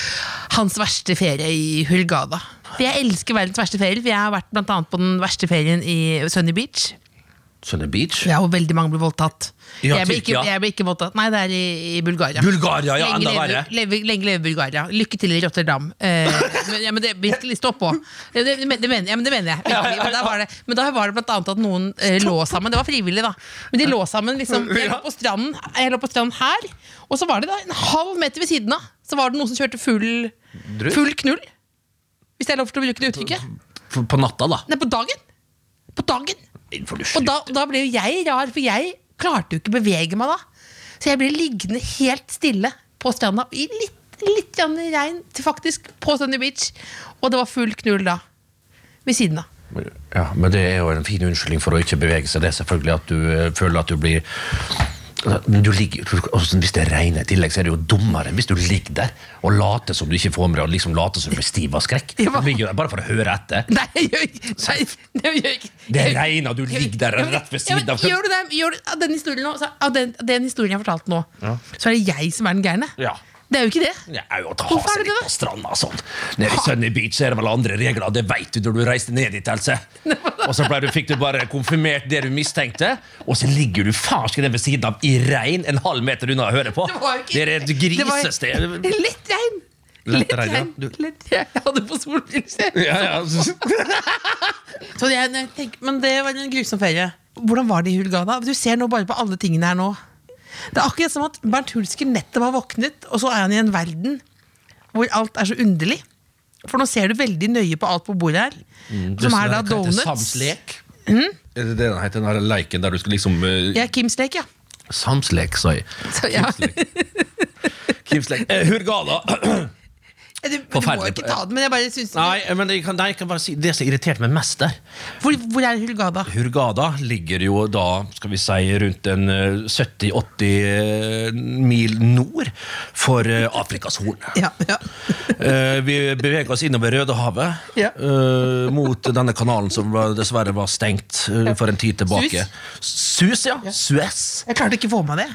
Speaker 1: hans verste ferie i Hurghada. For jeg elsker verdens verste ferie. For jeg har vært blant annet på den verste ferien i Sunny Beach.
Speaker 3: Sunny Beach.
Speaker 1: Ja, og veldig mange ble voldtatt.
Speaker 3: Ja,
Speaker 1: jeg, ble ikke,
Speaker 3: Tyrkia.
Speaker 1: jeg ble ikke voldtatt. Nei, det er i, i Bulgaria.
Speaker 3: Bulgaria, ja, enda
Speaker 1: leve,
Speaker 3: verre.
Speaker 1: leve, lenge leve Bulgaria. Lykke til i Rotterdam. Eh, men, ja, men det vi skal liste opp på. Det, det, det, mener, ja, men det mener jeg. virkelig. Men, der var det, men da var det blant annet at noen eh, lå sammen. Det var frivillig, da. Men de lå sammen. liksom Jeg lå på stranden, jeg lå på stranden her, og så var det da en halv meter ved siden av Så var det noen som kjørte full,
Speaker 3: Drøyt.
Speaker 1: full knull. Hvis det er lov til å bruke det uttrykket.
Speaker 3: På, på natta, da.
Speaker 1: Nei, på dagen. På dagen.
Speaker 3: Nei, får du
Speaker 1: Og
Speaker 3: slutt.
Speaker 1: da, da ble jo jeg rar, for jeg klarte jo ikke å bevege meg da. Så jeg ble liggende helt stille på stranda, i litt, litt grann regn, til faktisk, på Sunny Beach. Og det var full knull da. Ved siden av. (laughs)
Speaker 3: Ja, men det er jo en fin unnskyldning for å ikke bevege seg. Det er selvfølgelig at du eh, føler at du blir men du ligger, også Hvis det regner i tillegg, så er det jo dummere enn hvis du ligger der og later som du ikke får med deg, og liksom later som du blir stiv av skrekk.
Speaker 1: Ja.
Speaker 3: Du ligger der Bare for å høre etter.
Speaker 1: Nei, jeg gjør ikke nei, det. Gjør jeg ikke.
Speaker 3: Det
Speaker 1: Jeg-
Speaker 3: regner, du ligger der
Speaker 1: Ja, men-
Speaker 3: rett ved
Speaker 1: ja,
Speaker 3: siden
Speaker 1: men
Speaker 3: av.
Speaker 1: Gjør du det? Gjør du, av, den historien nå, så, av den, den historien jeg fortalte nå, så er det jeg som er den gærne.
Speaker 3: Ja.
Speaker 1: Det er jo ikke det.
Speaker 3: Det er jo å ta
Speaker 1: Hvorfor
Speaker 3: seg
Speaker 1: er det
Speaker 3: litt
Speaker 1: det?
Speaker 3: på stranda og sånn. Nede i Sunny Beach er det vel andre regler, det veit du når du reiste ned dit,
Speaker 1: (laughs)
Speaker 3: Else. Og så ble du, fikk du bare konfirmert det du mistenkte, og så ligger du farsken ved siden av i regn en halv meter unna å høre på.
Speaker 1: Det var jo ikke
Speaker 3: Det er
Speaker 1: (laughs)
Speaker 3: et
Speaker 1: Det var-
Speaker 3: grisested.
Speaker 1: Lett regn.
Speaker 3: Lett
Speaker 1: Lett
Speaker 3: regn, ja.
Speaker 1: regn.
Speaker 3: Du-
Speaker 1: Lett regn. Jeg hadde på solbriller.
Speaker 3: Ja, ja.
Speaker 1: Så jeg, når jeg tenker, men det var en grusom ferie. Hvordan var det i Hulgada? Du ser nå bare på alle tingene her nå. Det er akkurat som at Bernt Hulsker nettopp har våknet, og så er han i en verden hvor alt er så underlig. For nå ser du veldig nøye på alt på bordet her.
Speaker 3: Mm,
Speaker 1: som er da donuts. Mm?
Speaker 3: Samslek. Er det det den heter, den her leiken der du skal liksom eh,
Speaker 1: Ja, Kims lek, ja.
Speaker 3: Samslek, sa jeg.
Speaker 1: Så, ja.
Speaker 3: Kivslek. Eh, Hurgada.
Speaker 1: (laughs)
Speaker 3: (clears throat)
Speaker 1: Du, du må jo
Speaker 3: Forferdelig.
Speaker 1: ikke ta den, men jeg bare synes
Speaker 3: Nei, men jeg kan, nei, jeg kan bare si det som irriterte meg mest der.
Speaker 1: hvor, hvor er Hulgada?
Speaker 3: Hurgada ligger jo da skal vi si, rundt en eh, 70-80 eh, mil nord for eh, Afrikas Horn.
Speaker 1: Ja, ja.
Speaker 3: (laughs) Eh, Vi beveger oss innover Rødehavet,
Speaker 1: Ja.
Speaker 3: eh, mot denne kanalen som var- dessverre var stengt eh, for en tid tilbake. Sus, ja. Suez.
Speaker 1: Jeg klarte ikke å få med det.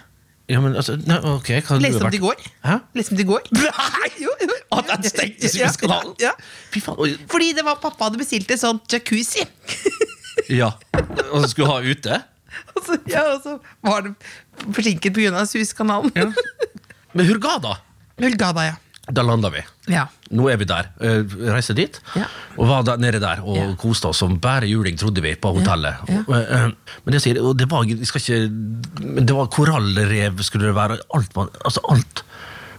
Speaker 3: Ja, men altså, nei, ok, hva hadde
Speaker 1: Leste
Speaker 3: du
Speaker 1: om det i Liksom
Speaker 3: vært?
Speaker 1: går.
Speaker 3: Hæ?
Speaker 1: Leste om det i går.
Speaker 3: Nei!
Speaker 1: (laughs) Jo, jo, jo.
Speaker 3: At den stengte Suezkanalen?
Speaker 1: Ja, ja.
Speaker 3: Fy faen. oi,
Speaker 1: Fordi det var pappa hadde bestilt et sånt jacuzzi. (laughs)
Speaker 3: Ja. Og så skulle ha ute?
Speaker 1: Og så, ja, og så var det forsinket pga. Suezkanalen. (laughs) Ja.
Speaker 3: Men Hurgada,
Speaker 1: Hulgada, ja.
Speaker 3: da landa vi.
Speaker 1: ja.
Speaker 3: Nå er vi der. Eh, Reiste dit
Speaker 1: Ja.
Speaker 3: og var da, nede der og
Speaker 1: Ja.
Speaker 3: koste oss som bare juling, trodde vi, på hotellet.
Speaker 1: Ja.
Speaker 3: Og, eh, eh, men jeg sier, og det var, jeg skal ikke, men det var korallrev, skulle det være. Alt var, altså alt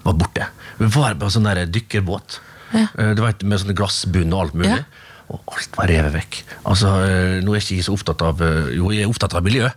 Speaker 3: var borte. Vi var på en sånn der dykkerbåt.
Speaker 1: Ja.
Speaker 3: Eh, Det var et- Med sånn glassbunn og alt mulig.
Speaker 1: Ja.
Speaker 3: og alt var revet vekk. Altså, eh, nå er ikke jeg så opptatt av eh, Jo, jeg er opptatt av miljø,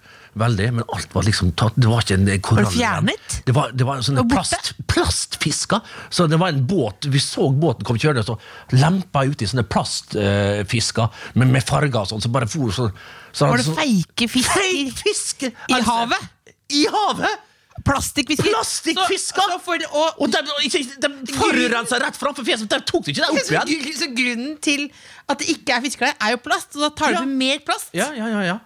Speaker 3: veldig, men alt var liksom tatt Det var ikke en eh, korall.
Speaker 1: fjernet?
Speaker 3: Det var, det var sånne
Speaker 1: Og borte?
Speaker 3: plast, plastfisker. Så det var en båt, Vi så båten kom kjørende og så lempa uti sånne plastfisker eh, med, med farger og sånn. Så bare for sånn. Så
Speaker 1: Var det
Speaker 3: så-
Speaker 1: feike fisker?
Speaker 3: Fake fisk Altså,
Speaker 1: I havet?
Speaker 3: I havet!
Speaker 1: Plastikkfisker?
Speaker 3: Plastikkfisker!
Speaker 1: Så- så for- og-
Speaker 3: Og de, ikke- de, de forurensa rett framfor fjeset, de tok det ikke der opp
Speaker 1: (laughs) Så,
Speaker 3: igjen!
Speaker 1: gr- så grunnen til at det ikke er fisker der, er jo plast, og da tar du
Speaker 3: Ja.
Speaker 1: med mer plast? (laughs)
Speaker 3: Ja, ja, ja, ja.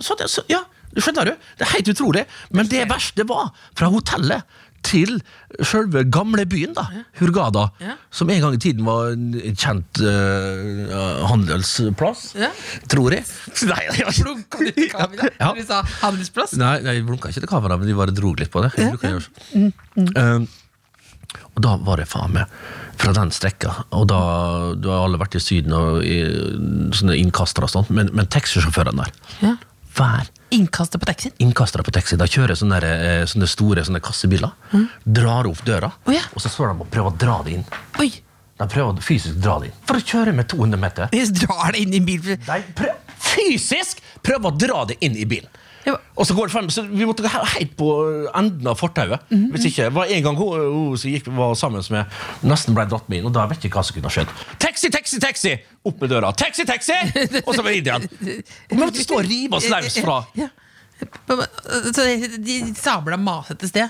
Speaker 3: Så det, så, ja, du skjønner du? Det er helt utrolig. Men det verste var fra hotellet til selve gamlebyen, da, Hurghada,
Speaker 1: Ja.
Speaker 3: som en gang i tiden var en kjent eh, handelsplass,
Speaker 1: Ja. (laughs)
Speaker 3: tror jeg. Nei, det var ikke
Speaker 1: Blunka du ikke av i dag?
Speaker 3: Ja.
Speaker 1: Du sa handelsplass?
Speaker 3: Nei, nei, jeg blunka ikke til kamera, men de bare dro litt på det. Jeg bruker å gjøre sånn. Um, og da var det faen meg fra den strekka. Og da, da har alle vært i Syden og i, sånne innkastere og sånn, men, men taxisjåførene der
Speaker 1: Ja.
Speaker 3: Hver
Speaker 1: Innkastet på taxien?
Speaker 3: innkastere på taxi da kjører sånne, der, eh, sånne store sånne kassebiler, drar opp døra,
Speaker 1: Å ja.
Speaker 3: og så står de og prøver å dra det inn.
Speaker 1: Oi!
Speaker 3: De prøver å fysisk dra det inn. For å kjøre med 200 meter.
Speaker 1: Jeg drar det inn i bilen.
Speaker 3: Nei, prøv, fysisk prøv å dra det inn i bilen.
Speaker 1: Ja.
Speaker 3: Og så går det frem, så Vi måtte gå he- helt på enden av fortauet.
Speaker 1: Mhm,
Speaker 3: Hvis ikke, det var En gang hun, hun som gikk, var sammen med nesten ble dratt med inn, og da vet jeg ikke hva som kunne ha skjedd. Taxi, taxi, taxi! Opp med døra. Taxi,
Speaker 1: (laughs)
Speaker 3: taxi! Og så var det inn igjen. Vi måtte stå og rive oss løs fra
Speaker 1: Ja. Så de- de sabla masete sted.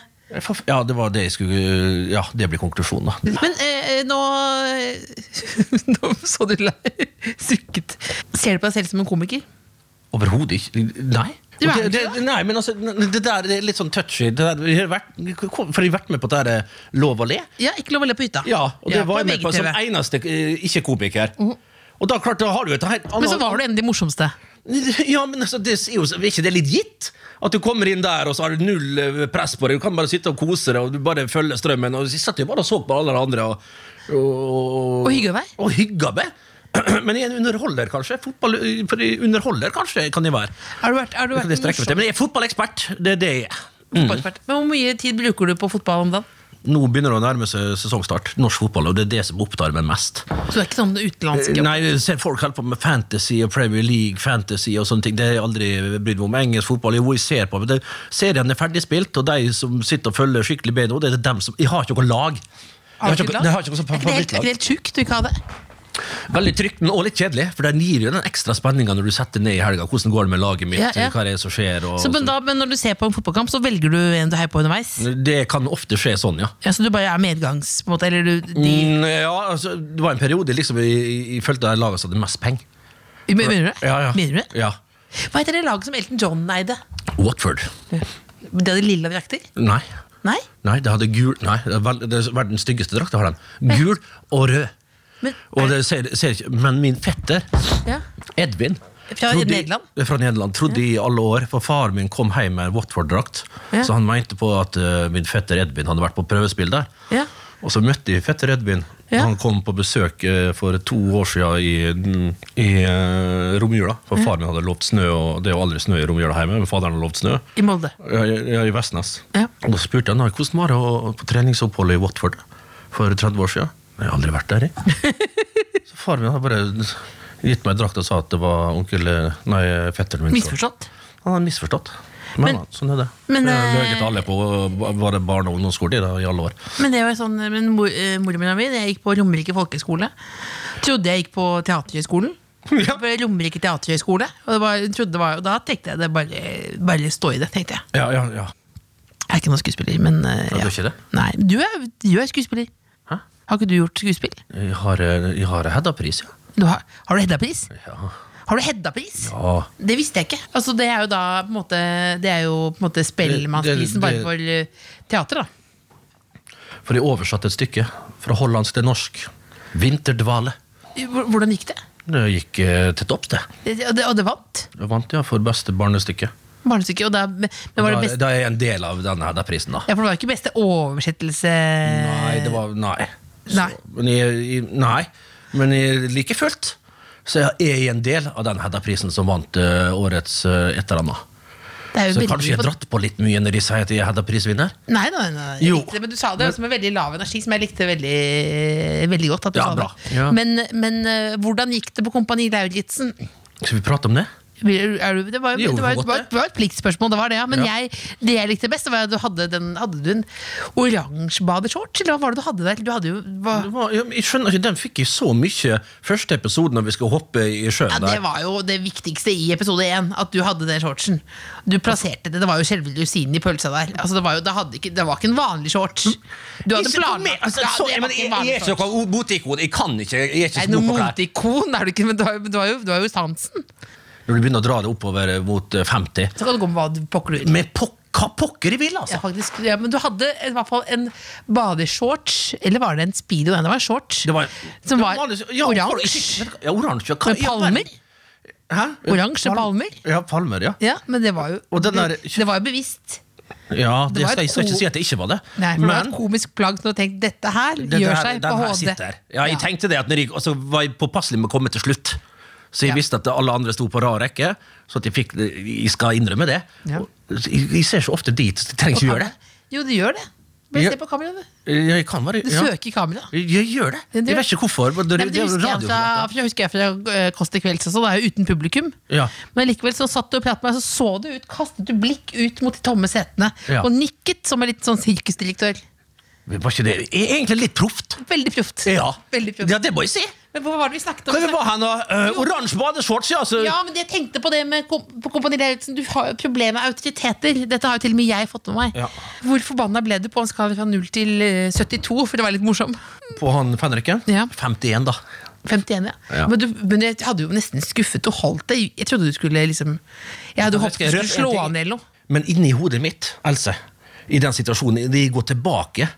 Speaker 3: Ja, det var det jeg skulle Ja, det blir konklusjonen, da.
Speaker 1: Men eh, nå (laughs) Nå så du lei sukket. Ser du på deg selv som en komiker?
Speaker 3: Overhodet ikke. Nei.
Speaker 1: Du er
Speaker 3: Og det,
Speaker 1: ikke
Speaker 3: det, nei, men altså, det der det er litt sånn touchy. Det der, vi har vært, for jeg har vært med på det der eh, Lov å le.
Speaker 1: Ja, ikke lov å le på hytta.
Speaker 3: Ja, og det var jeg med på som
Speaker 1: VGTV.
Speaker 3: eneste eh, ikke-komiker. Og da klart, da har du et helt annet
Speaker 1: Men så var du en av de morsomste.
Speaker 3: Ja, men altså, det er jo er ikke det litt gitt? At du kommer inn der, og så har du null eh, press på deg. Du kan bare sitte og kose deg, og du bare følger strømmen. Og jeg satt jo bare og så på alle de andre. Og, og,
Speaker 1: Og hygget deg?
Speaker 3: Og hygget meg. (clears throat) Men jeg er en underholder, kanskje. Fotball, for jeg underholder, kanskje, kan jeg være.
Speaker 1: Har du vært, har du
Speaker 3: Det
Speaker 1: vært
Speaker 3: kan jeg strekke meg til. Men jeg er fotballekspert. Det er det jeg er.
Speaker 1: fotballekspert? Men hvor mye tid bruker du på fotball om dagen?
Speaker 3: Nå begynner det å nærme seg sesongstart. Norsk fotball, og det er det som opptar meg mest.
Speaker 1: Så det er ikke sånn utenlandsk jobb?
Speaker 3: Eh, Nei, jeg ser folk holder på med fantasy og Premier League, fantasy og sånne ting. Det har jeg aldri brydd meg om. Engelsk fotball jo, jeg ser på, men det, serien er ferdigspilt, og de som sitter og følger skikkelig med nå, det er dem som Jeg har ikke noe lag. Jeg har
Speaker 1: du
Speaker 3: ikke,
Speaker 1: ikke
Speaker 3: noe-
Speaker 1: lag?
Speaker 3: nei, jeg har ikke noe sånt
Speaker 1: Er ikke det helt, er ikke det
Speaker 3: favorittlag.
Speaker 1: helt sjukt du ikke har det?
Speaker 3: Veldig trygt, men også litt kjedelig, for den gir jo den ekstra spenninga når du setter ned i helga. Hvordan går det med laget mitt,
Speaker 1: Ja, ja.
Speaker 3: hva er det som skjer? Og,
Speaker 1: Så, men, da, men når du ser på en fotballkamp, så velger du en du heier på underveis?
Speaker 3: Det kan ofte skje sånn, ja.
Speaker 1: Ja, så du bare er medgangs, på en måte? Eller du, de,
Speaker 3: Mm, ja, altså, det var en periode liksom, jeg, jeg følte at laget som hadde mest penger.
Speaker 1: mener du det?
Speaker 3: Ja, ja.
Speaker 1: Mener du det?
Speaker 3: Ja.
Speaker 1: Hva heter det laget som Elton John eide?
Speaker 3: Watford.
Speaker 1: De hadde lilla drakter?
Speaker 3: Nei.
Speaker 1: Nei?
Speaker 3: Nei, det hadde gul Nei, det er vel- det er verdens styggeste drakt. det har den Gul og rød.
Speaker 1: Men,
Speaker 3: Og det ser, ser ikke Men min fetter,
Speaker 1: ja.
Speaker 3: Edvin
Speaker 1: Fra
Speaker 3: trodde-
Speaker 1: Nederland?
Speaker 3: Fra Nederland, trodde i alle år, for faren min kom hjem med en Watford-drakt.
Speaker 1: Ja.
Speaker 3: Så han mente på at eh, min fetter Edvin hadde vært på prøvespill der.
Speaker 1: Ja.
Speaker 3: Og så møtte jeg fetter Edvin.
Speaker 1: Ja.
Speaker 3: Han kom på besøk eh, for to år siden i, i eh, romjula. For faren min hadde lovt snø, og det er jo aldri snø i romjula hjemme. Men faderen hadde lovt snø.
Speaker 1: I Molde.
Speaker 3: Ja, ja, i Vestnes.
Speaker 1: Ja.
Speaker 3: Og Da spurte han «Nei, hvordan var det å- på treningsoppholdet i Watford for 30 år siden. Jeg har aldri vært der, jeg. Så faren min har bare gitt meg en drakt og sa at det var onkel Nei, fetteren min. som-
Speaker 1: Misforstått.
Speaker 3: Han har misforstått. Men,
Speaker 1: Men-
Speaker 3: sånn er det.
Speaker 1: men,
Speaker 3: jeg har
Speaker 1: eh,
Speaker 3: løyet til alle på bare barne- og ungdomsskole i, da, i alle år.
Speaker 1: Men det var sånn, men mor, eh, moren min Jeg gikk på Romerike folkehøgskole. Trodde jeg gikk på
Speaker 3: (laughs)
Speaker 1: Teaterhøgskolen. Ja. Romerike teaterhøgskole. Og, det var, trodde det var, og da tenkte jeg det bare, bare stå i det. tenkte Jeg
Speaker 3: Ja, ja, ja.
Speaker 1: Jeg er ikke noen skuespiller, men eh,
Speaker 3: du er
Speaker 1: ja.
Speaker 3: ikke det?
Speaker 1: Nei, du er, du er skuespiller.
Speaker 3: Hæ?
Speaker 1: Har ikke du gjort skuespill?
Speaker 3: Jeg har, jeg har Hedda-pris, ja.
Speaker 1: Du har, har du Hedda-pris?
Speaker 3: ja.
Speaker 1: Har du Hedda-pris?
Speaker 3: Ja.
Speaker 1: Det visste jeg ikke. Altså, det er jo da på en måte, Det er jo på en måte
Speaker 3: Det- det-
Speaker 1: Spellemannsprisen bare
Speaker 3: det-
Speaker 1: for eh, teater, da.
Speaker 3: For jeg oversatte et stykke fra hollandsk til norsk. 'Vinterdvale'.
Speaker 1: Hvor- Hvordan gikk det?
Speaker 3: Det gikk eh, til topps, det.
Speaker 1: Det- Og det, og det vant?
Speaker 3: Jeg vant ja, for beste barnestykke.
Speaker 1: Barnestykke. Og da, men men var det
Speaker 3: da,
Speaker 1: beste,
Speaker 3: da er jeg en del av denne her, den prisen, da.
Speaker 1: ja, for det var ikke beste oversettelse
Speaker 3: Nei, det var Nei.
Speaker 1: Eh, Nei.
Speaker 3: men, jeg, jeg, nei. men jeg, like fullt så jeg er jeg en del av den Hedda-prisen som vant eh, årets eh, et eller annet.
Speaker 1: Det er jo
Speaker 3: Så
Speaker 1: veldig
Speaker 3: kanskje jeg
Speaker 1: på-
Speaker 3: har dratt på litt mye når de sier at jeg er Hedda Prisvinner?
Speaker 1: Nei, nei, nei, nei. Jeg
Speaker 3: Jo.
Speaker 1: likte det, men du sa det også med veldig lav energi, som jeg likte veldig, veldig godt. At du
Speaker 3: Ja,
Speaker 1: sa
Speaker 3: bra.
Speaker 1: det.
Speaker 3: Ja.
Speaker 1: Men, men eh, hvordan gikk det på Kompani Lauritzen?
Speaker 3: Skal vi prate om det?
Speaker 1: Vil- er du- Det var jo
Speaker 3: Jo,
Speaker 1: det var, jo-
Speaker 3: vi kan godt
Speaker 1: det var,
Speaker 3: det.
Speaker 1: det var et pliktspørsmål, det var det. Ja. Men
Speaker 3: Ja.
Speaker 1: jeg, det jeg likte best, var at du hadde, den, hadde du en oransje badeshorts? Eller hva var det du hadde der? Du hadde jo hva,
Speaker 3: det var, ja, men jeg skjønner ikke, Den fikk jeg så mye første episode når vi skal hoppe i sjøen
Speaker 1: ja, det
Speaker 3: der.
Speaker 1: var jo det viktigste i episode én, at du hadde den shortsen. Du plasserte det, det var jo selve lusinen i pølsa der. Altså, det, var jo, det, hadde ikke, det var ikke en vanlig shorts. Du hadde
Speaker 3: Jeg-
Speaker 1: planlagt
Speaker 3: altså,
Speaker 1: Ja,
Speaker 3: så-
Speaker 1: det
Speaker 3: jeg-
Speaker 1: var
Speaker 3: men
Speaker 1: ikke en
Speaker 3: jeg-
Speaker 1: vanlig
Speaker 3: Jeg er
Speaker 1: shorts.
Speaker 3: ikke noe moteikon. Jeg kan ikke. Jeg er ikke
Speaker 1: Nei,
Speaker 3: så
Speaker 1: noe
Speaker 3: god på klær.
Speaker 1: moteikon er du ikke, men du har, jo- du, har jo, du har jo sansen.
Speaker 3: Når du begynner å dra det oppover eh, mot eh, 50
Speaker 1: Så kan du gå med hva du pokker ut.
Speaker 3: Med pok hva pokker jeg vil,
Speaker 1: Ja,
Speaker 3: altså!
Speaker 1: faktisk, ja, men du hadde i hvert fall en badeshorts, eller var det en speedo? Nei, Det var en shorts
Speaker 3: Det var-
Speaker 1: som
Speaker 3: det
Speaker 1: var,
Speaker 3: liksom- ja,
Speaker 1: oransje.
Speaker 3: folk- Ja, oransje. Hva-
Speaker 1: Med
Speaker 3: ja,
Speaker 1: palmer.
Speaker 3: Hæ?
Speaker 1: Oransje
Speaker 3: Palm-
Speaker 1: palmer.
Speaker 3: Ja, palmer, ja.
Speaker 1: Ja, men det var jo
Speaker 3: Og den der-
Speaker 1: det var jo bevisst.
Speaker 3: Ja, det
Speaker 1: var
Speaker 3: skal,
Speaker 1: et
Speaker 3: jeg skal ikke
Speaker 1: ko-
Speaker 3: si at det ikke var det.
Speaker 1: Nei, for det var et komisk plagg som du tenkte dette her
Speaker 3: den
Speaker 1: gjør
Speaker 3: her-
Speaker 1: seg
Speaker 3: den
Speaker 1: på
Speaker 3: her
Speaker 1: HD.
Speaker 3: sitter. Ja, jeg tenkte det at når jeg, Og så var jeg påpasselig med å komme til slutt. Så jeg
Speaker 1: Ja.
Speaker 3: visste at alle andre sto på rad rekke. Så at jeg fikk Jeg skal innrømme det.
Speaker 1: Ja.
Speaker 3: Og Jeg, jeg ser så ofte dit. så Jeg trenger ikke gjøre det.
Speaker 1: Jo, du gjør det. Bare
Speaker 3: Ja.
Speaker 1: se på kameraet. du.
Speaker 3: Jeg kan være
Speaker 1: Du
Speaker 3: ja.
Speaker 1: søker kameraet.
Speaker 3: Jeg, jeg gjør det.
Speaker 1: Ja, du
Speaker 3: Jeg
Speaker 1: gjør-
Speaker 3: vet ikke hvorfor. men Det,
Speaker 1: Nei, men det
Speaker 3: det er jo
Speaker 1: husker jeg fra,
Speaker 3: radioprogram, da.
Speaker 1: for det husker jeg fra eh, Kåss til kvelds også. Det er jo uten publikum.
Speaker 3: Ja.
Speaker 1: Men likevel så satt du og pratet med meg, så så du ut, kastet du blikk ut mot de tomme setene.
Speaker 3: Ja.
Speaker 1: Og nikket som en litt sånn sirkusdirektør.
Speaker 3: Men Var ikke det er egentlig litt proft?
Speaker 1: Veldig proft.
Speaker 3: Ja.
Speaker 1: Veldig proft.
Speaker 3: ja, det må jeg si.
Speaker 1: Men hva var det vi snakket om?
Speaker 3: Kan vi bare ha noe eh, oransje badeshorts, ja? altså, Så
Speaker 1: Ja, men jeg tenkte på det med kom på Kompani Lauritzen. Du har jo problemer med autoriteter. Dette har jo til og med jeg fått med meg.
Speaker 3: Ja.
Speaker 1: Hvor forbanna ble du på en skala fra 0 til eh, 72, for det var litt morsom?
Speaker 3: på han fenriken?
Speaker 1: Ja.
Speaker 3: 51, da.
Speaker 1: 51, ja.
Speaker 3: Ja.
Speaker 1: Men, du, men jeg hadde jo nesten skuffet Du holdt deg. Jeg trodde du skulle liksom Jeg hadde
Speaker 3: Jeg
Speaker 1: håpet du
Speaker 3: skal
Speaker 1: skulle
Speaker 3: røpe
Speaker 1: slå
Speaker 3: en ting.
Speaker 1: an eller noe.
Speaker 3: Men inni hodet mitt, Else, i den situasjonen, de går tilbake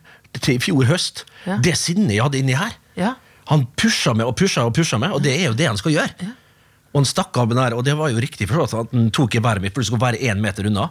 Speaker 3: til i fjor høst.
Speaker 1: Ja.
Speaker 3: Det sinnet jeg hadde inni her.
Speaker 1: Ja.
Speaker 3: Han pusha meg og pusha og pusha meg, og det er jo det han skal gjøre. Og han stakk av med den her, og det var jo riktig forstått at han tok i været mitt, for det skulle være én meter unna.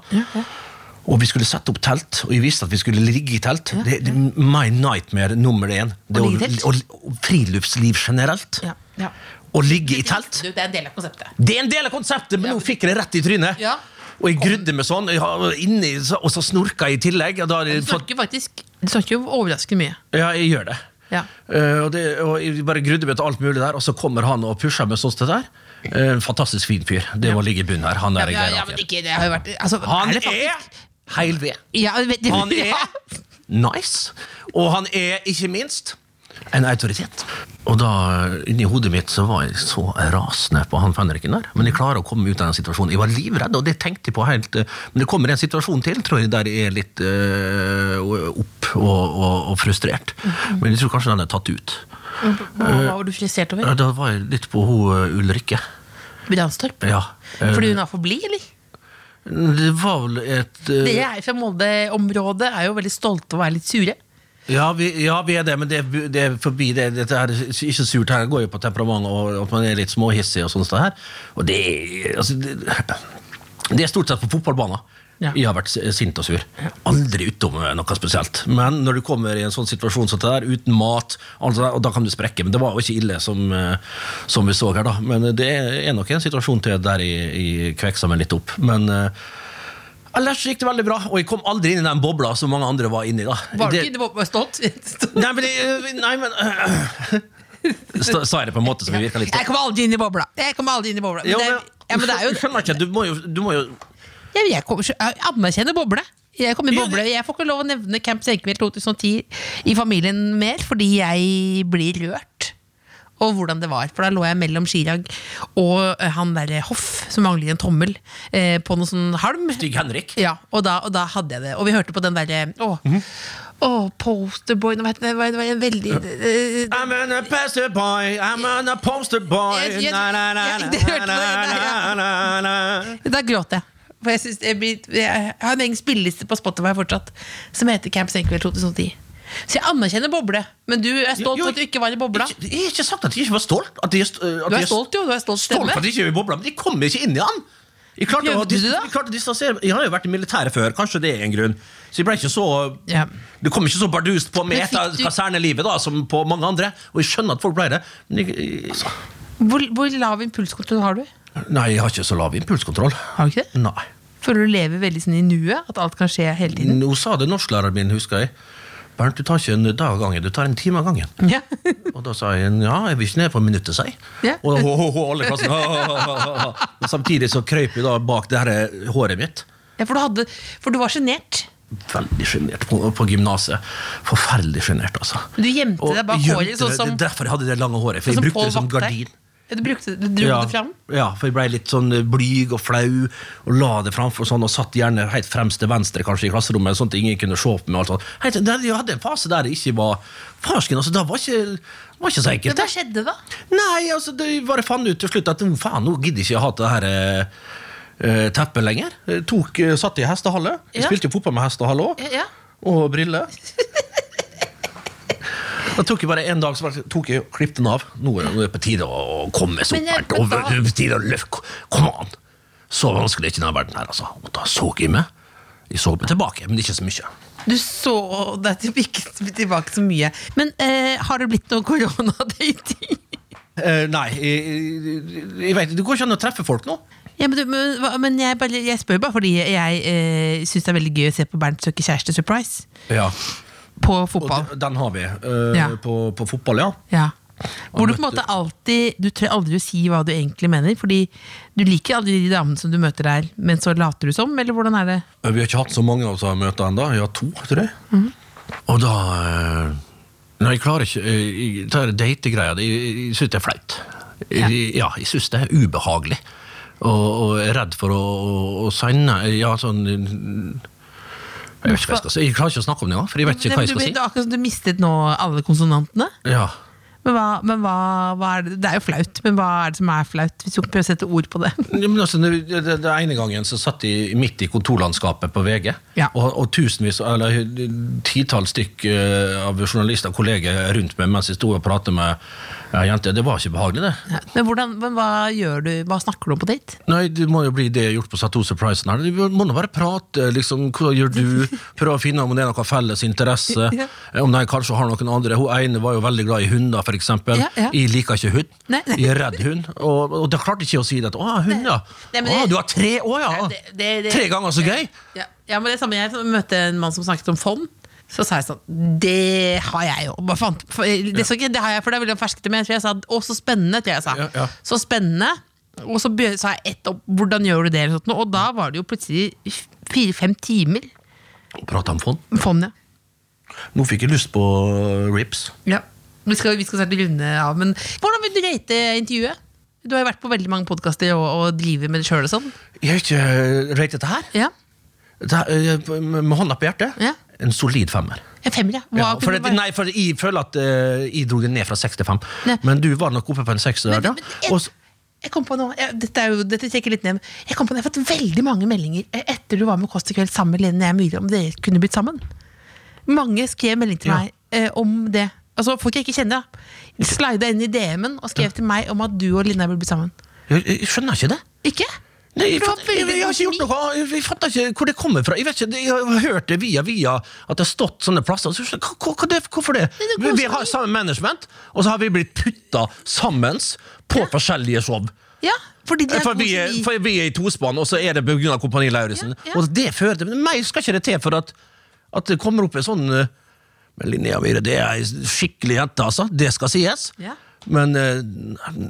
Speaker 3: Og vi skulle sette opp telt, og jeg visste at vi skulle ligge i telt. Det, det, my nightmare nummer én. Det
Speaker 1: Å
Speaker 3: å-
Speaker 1: ligge i telt?
Speaker 3: å- å- Friluftsliv generelt.
Speaker 1: Ja, ja.
Speaker 3: Å ligge i telt.
Speaker 1: Du, det er en del av konseptet.
Speaker 3: Det er en del av konseptet, men nå fikk jeg det rett i trynet.
Speaker 1: Ja.
Speaker 3: Og jeg grudde meg sånn, jeg har- inni, og så snorka jeg i tillegg. Og da har
Speaker 1: Du
Speaker 3: jeg fått,
Speaker 1: snakker faktisk Du snakker jo overraskende mye.
Speaker 3: ja, jeg gjør det.
Speaker 1: Ja.
Speaker 3: Eh, og, det, og jeg bare grudde meg til alt mulig der, og så kommer han og pusher meg sånn til det der. Eh, en fantastisk fin fyr. Det må ligge i bunnen her. Han
Speaker 1: Ja,
Speaker 3: er,
Speaker 1: men- ja, ja, men
Speaker 3: Geiraker.
Speaker 1: ikke, det har jo vært altså,
Speaker 3: han
Speaker 1: er
Speaker 3: er,
Speaker 1: det faktisk-
Speaker 3: heil ved.
Speaker 1: ja, vet, du-
Speaker 3: Han er
Speaker 1: ja.
Speaker 3: nice, og han er ikke minst en autoritet. Og da, inni hodet mitt så var jeg så rasende på han fenriken der. Men jeg klarer å komme meg ut av den situasjonen. Jeg var livredd, og det tenkte jeg på helt eh, Men det kommer en situasjon til, tror jeg, der jeg er litt eh, opp og, og, og frustrert.
Speaker 1: Mhm.
Speaker 3: Men jeg tror kanskje den er tatt ut.
Speaker 1: Hva hva var du frisert over?
Speaker 3: Ja, Da var jeg litt på hun eh, Ulrikke.
Speaker 1: Branstorp?
Speaker 3: Ja. eh,
Speaker 1: Fordi hun er for blid, eller?
Speaker 3: Det var vel et eh,
Speaker 1: Dere er fra Molde-området er jo veldig stolte og er litt sure.
Speaker 3: Ja vi, ja, vi er det, men det, er- det er forbi det. Dette her, er ikke surt her går jo på temperament og at man er litt småhissig og sånt der her. Og det er altså, det, det er stort sett på fotballbanen.
Speaker 1: Ja.
Speaker 3: Jeg har vært s- sint og sur. Aldri utom eh, noe spesielt. Men når du kommer i en sånn situasjon som det der, uten mat, altså, og da kan du sprekke. Men det var jo ikke ille, som, eh, som vi så her, da. Men eh, det er nok en situasjon til der jeg, jeg kveksa meg litt opp. Men eh, Ellers gikk det veldig bra, og jeg kom aldri inn i den bobla som mange andre var inni. da
Speaker 1: Var det
Speaker 3: Det-
Speaker 1: ikke det var bare stolt?
Speaker 3: Nei, men, det- eh, nei, men eh, Sta- Sa jeg det på en måte som virka litt
Speaker 1: Jeg kommer aldri inn i bobla. Jeg kommer aldri inn i bobla. Men
Speaker 3: Jo,
Speaker 1: det, er- ja, men det er jo
Speaker 3: (laughs) Skjønner ikke, du må jo, du må jo
Speaker 1: Jeg, jeg, kommer, jeg anerkjenner boble. Jeg, kommer i
Speaker 3: Ja,
Speaker 1: boble. jeg får ikke lov å nevne Camp Senkveld 2010 i familien mer, fordi jeg blir rørt. Og hvordan det var, for da lå jeg mellom Chirag og eh, han derre Hoff, som mangler en tommel, eh, på noe sånn halm.
Speaker 3: Stig Henrik.
Speaker 1: Ja, og da, og da hadde jeg det. Og vi hørte på den derre Å, å, Posterboy nå vet jeg- Det var det var en veldig eh,
Speaker 3: I'm an a poster boy, I'm an a poster boy
Speaker 1: Jeg- jeg-
Speaker 3: na, na, na,
Speaker 1: jeg- det hørte du, ja.
Speaker 3: na, na, na, na.
Speaker 1: eh, Da gråt jeg. For jeg, synes jeg, blir, jeg har en egen spilleliste på Spotify fortsatt som heter Camp Senkveld 2010. Så jeg anerkjenner boble, men du er stolt
Speaker 3: Jo,
Speaker 1: for at du ikke var i bobla.
Speaker 3: Ikke- Jeg har ikke sagt at jeg ikke var stolt. At jeg, st- at
Speaker 1: Du er
Speaker 3: jeg-
Speaker 1: stolt, jo. Du er stolt
Speaker 3: Stolt
Speaker 1: stemme.
Speaker 3: for at jeg ikke var i bobla, men jeg kom ikke inn i den. Jeg klarte, å,
Speaker 1: Prøvde du det?
Speaker 3: jeg klarte å distansere Jeg har jo vært i militæret før, kanskje det er en grunn. Så jeg ble ikke så
Speaker 1: Ja.
Speaker 3: Det kom ikke så bardust på meg
Speaker 1: Men fikk
Speaker 3: etter
Speaker 1: du-
Speaker 3: kasernelivet da, som på mange andre. Og jeg skjønner at folk ble det. Men jeg, altså,
Speaker 1: Hvor, hvor lav impulskontroll har du?
Speaker 3: nei, jeg har ikke så lav impulskontroll.
Speaker 1: Har du ikke det?
Speaker 3: Nei.
Speaker 1: Føler du lever veldig sånn i nuet? At alt kan skje hele tiden?
Speaker 3: Nå sa det norsklæreren min, husker jeg. Bernt, du tar ikke en dag av gangen, du tar en time av gangen.
Speaker 1: Ja. (laughs)
Speaker 3: Og da sa jeg ja, jeg vil ikke ned på minuttet, sier jeg.
Speaker 1: Ja.
Speaker 3: Og da, ho, ho, ho, alle i klassen, «Ho, ho, ho, ho, ho, ho». Men Samtidig så krøp jeg da bak det her eh, håret mitt.
Speaker 1: ja, for du, hadde, for du var sjenert.
Speaker 3: Veldig sjenert på, på gymnaset. Forferdelig sjenert, altså.
Speaker 1: Du gjemte
Speaker 3: Og
Speaker 1: deg bak
Speaker 3: gjemte
Speaker 1: håret, sånn
Speaker 3: det.
Speaker 1: som,
Speaker 3: Det er derfor jeg hadde det lange håret. For
Speaker 1: sånn som
Speaker 3: jeg brukte
Speaker 1: Paul
Speaker 3: det som
Speaker 1: Wachter.
Speaker 3: gardin.
Speaker 1: Ja, du brukte det, du dro det fram?
Speaker 3: ja, for jeg ble litt sånn eh, blyg og flau og la det framfor sånn, og satt gjerne helt fremst til venstre kanskje i klasserommet, sånn at ingen kunne se på meg. og alt sånt. Helt, sånn, der- jeg hadde en fase der jeg ikke var farsken. altså, Da var ikke, var ikke så
Speaker 1: Ja,
Speaker 3: enkelt.
Speaker 1: hva skjedde da?
Speaker 3: Nei, altså, det jeg bare fant ut til slutt at «Å, faen, nå gidder jeg ikke jeg ha til det her eh, eh, teppet lenger. Jeg Tok, eh, satt i hestehale. Jeg
Speaker 1: Ja.
Speaker 3: spilte jo fotball med hestehale òg.
Speaker 1: Ja, ja.
Speaker 3: Og briller. Da tok jeg bare en dag så bare tok jeg og klippet den av. Nå er det på tide å komme seg
Speaker 1: Men jeg-
Speaker 3: opp. Bernt. Og
Speaker 1: men da-
Speaker 3: det er på tide å løfte. Kom an! Så vanskelig er ikke denne verden her, altså. Og da så jeg meg. Jeg så meg tilbake, men ikke så mye.
Speaker 1: Du så deg til- ikke tilbake så mye. Men eh, har det blitt noe koronadating?
Speaker 3: Eh, nei, jeg, jeg, jeg vet, det går ikke an å treffe folk nå.
Speaker 1: Ja, men, du, men, hva- men jeg, bare, jeg spør bare fordi jeg eh, syns det er veldig gøy å se på Bernt søker kjæreste surprise
Speaker 3: Ja,
Speaker 1: på
Speaker 3: og
Speaker 1: fotball.
Speaker 3: den, den har vi. eh,
Speaker 1: Ja.
Speaker 3: på, på fotball, ja.
Speaker 1: Ja. Hvor du på en
Speaker 3: møtte-
Speaker 1: måte alltid Du tør aldri å si hva du egentlig mener, fordi du liker aldri de damene som du møter der, men så later du som, eller hvordan er det?
Speaker 3: Eh, Vi har ikke hatt så mange av oss møter ennå. Vi har to, tror jeg.
Speaker 1: Mhm.
Speaker 3: Og da eh, Nei, jeg klarer ikke eh, jeg- Det her dategreia, det- jeg, jeg syns det er flaut. Ja, ja jeg syns det er ubehagelig. Og, og er redd for å, å, å si nei. Ja, sånn Jeg vet ikke hva jeg skal si. Jeg klarer ikke å snakke om det engang, for jeg vet ikke hva jeg
Speaker 1: du,
Speaker 3: skal
Speaker 1: det
Speaker 3: si.
Speaker 1: er akkurat som du mistet nå alle konsonantene.
Speaker 3: Ja.
Speaker 1: Men, hva, men hva, hva er det? det er jo flaut, men hva er det som er flaut? Hvis du prøver å sette ord på det.
Speaker 3: Ja, Men altså, det, det, det ene gangen så satt jeg midt i kontorlandskapet på VG,
Speaker 1: Ja.
Speaker 3: og, og tusenvis, eller titall stykk eh, av journalister og kolleger rundt meg mens jeg sto og pratet med ei jente. Det var ikke behagelig, det.
Speaker 1: Men, hvordan, men hva gjør du? Hva snakker du om på date?
Speaker 3: Nei, det må jo bli det jeg har gjort på Sato Surprisen her. Du må nå bare prate, liksom. Hva gjør du? Prøve å finne om det er noen felles interesse.
Speaker 1: (laughs) Ja.
Speaker 3: Om de kanskje har noen andre. Hun ene var jo veldig glad i hunder, for eksempel.
Speaker 1: Ja, ja.
Speaker 3: Jeg liker ikke hund.
Speaker 1: Nei, nei.
Speaker 3: Jeg er redd hund. Og, og da klarte jeg ikke å si det. at, Å, hund, ja.
Speaker 1: Nei, men
Speaker 3: Å,
Speaker 1: det-
Speaker 3: du har tre? Å, ja.
Speaker 1: Nei, det- det- det-
Speaker 3: tre ganger så gøy?
Speaker 1: Ja, ja, men det er samme Jeg møtte en mann som snakket om fond. Så sa jeg sånn Det har jeg jo! Hva faen? For, eh, det, så ikke, det har jeg, for det er veldig ferskt til meg. Så jeg sa å, så spennende! Tror jeg jeg sa.
Speaker 3: Ja, ja.
Speaker 1: Så spennende. Og så be- sa jeg ett opp. Hvordan gjør du det? Eller sånt, noe. og da var det jo plutselig fire-fem timer
Speaker 3: Prate om fond.
Speaker 1: fond, ja.
Speaker 3: Nå fikk jeg lyst på uh, rips.
Speaker 1: ja. Vi skal, vi skal snart runde av, men hvordan vil du rate intervjuet? Du har jo vært på veldig mange podkaster og, og driver med det sjøl og sånn.
Speaker 3: Jeg har ikke røykt dette her.
Speaker 1: Ja.
Speaker 3: Det her, eh, med hånda på hjertet,
Speaker 1: Ja.
Speaker 3: en solid femmer.
Speaker 1: En femmer, ja. Hva
Speaker 3: Ja,
Speaker 1: kunne
Speaker 3: for
Speaker 1: det
Speaker 3: det,
Speaker 1: være?
Speaker 3: nei, for jeg føler at eh, jeg dro det ned fra 65.
Speaker 1: Nei.
Speaker 3: Men du var nok oppe på en 6 der,
Speaker 1: Men-
Speaker 3: ja.
Speaker 1: men jeg-
Speaker 3: Og s-
Speaker 1: Jeg kom på noe, jeg, dette, er jo, dette trekker litt ned men Jeg kom på noe, jeg har fått veldig mange meldinger eh, Etter du var med Kåss til kveld sammen med Lene jeg Myhre Om dere kunne blitt sammen Mange skrev melding til
Speaker 3: Ja.
Speaker 1: meg eh, om det Altså folk jeg ikke kjenner da Slida inn i DM-en og skrev til meg Om at du og Linda burde bli sammen
Speaker 3: jeg, jeg skjønner ikke det.
Speaker 1: Ikke?
Speaker 3: Nei, jeg,
Speaker 1: Det var
Speaker 3: fatt, jeg,
Speaker 1: veldig
Speaker 3: jeg har ikke gjort noe Jeg, jeg fatter ikke hvor det kommer fra. Jeg vet ikke, det- jeg har hørt det via via at det har stått sånne plasser. Så, skjønner jeg, hva, hva, det, hvorfor det?
Speaker 1: Nei, det
Speaker 3: Vi,
Speaker 1: går
Speaker 3: vi har samme management, og så har vi blitt putta sammen på forskjellige show.
Speaker 1: Ja, fordi de er
Speaker 3: For
Speaker 1: gode
Speaker 3: vi, er,
Speaker 1: kjemi.
Speaker 3: for vi er i tospann, og så er det pga. Kompani Lauritzen.
Speaker 1: Ja, ja.
Speaker 3: Og det fører til men Meg skal ikke det til for at, at det kommer opp en sånn eh, Men Linnea Myhre, det er ei skikkelig jente, altså. Det skal sies.
Speaker 1: Ja.
Speaker 3: Men eh,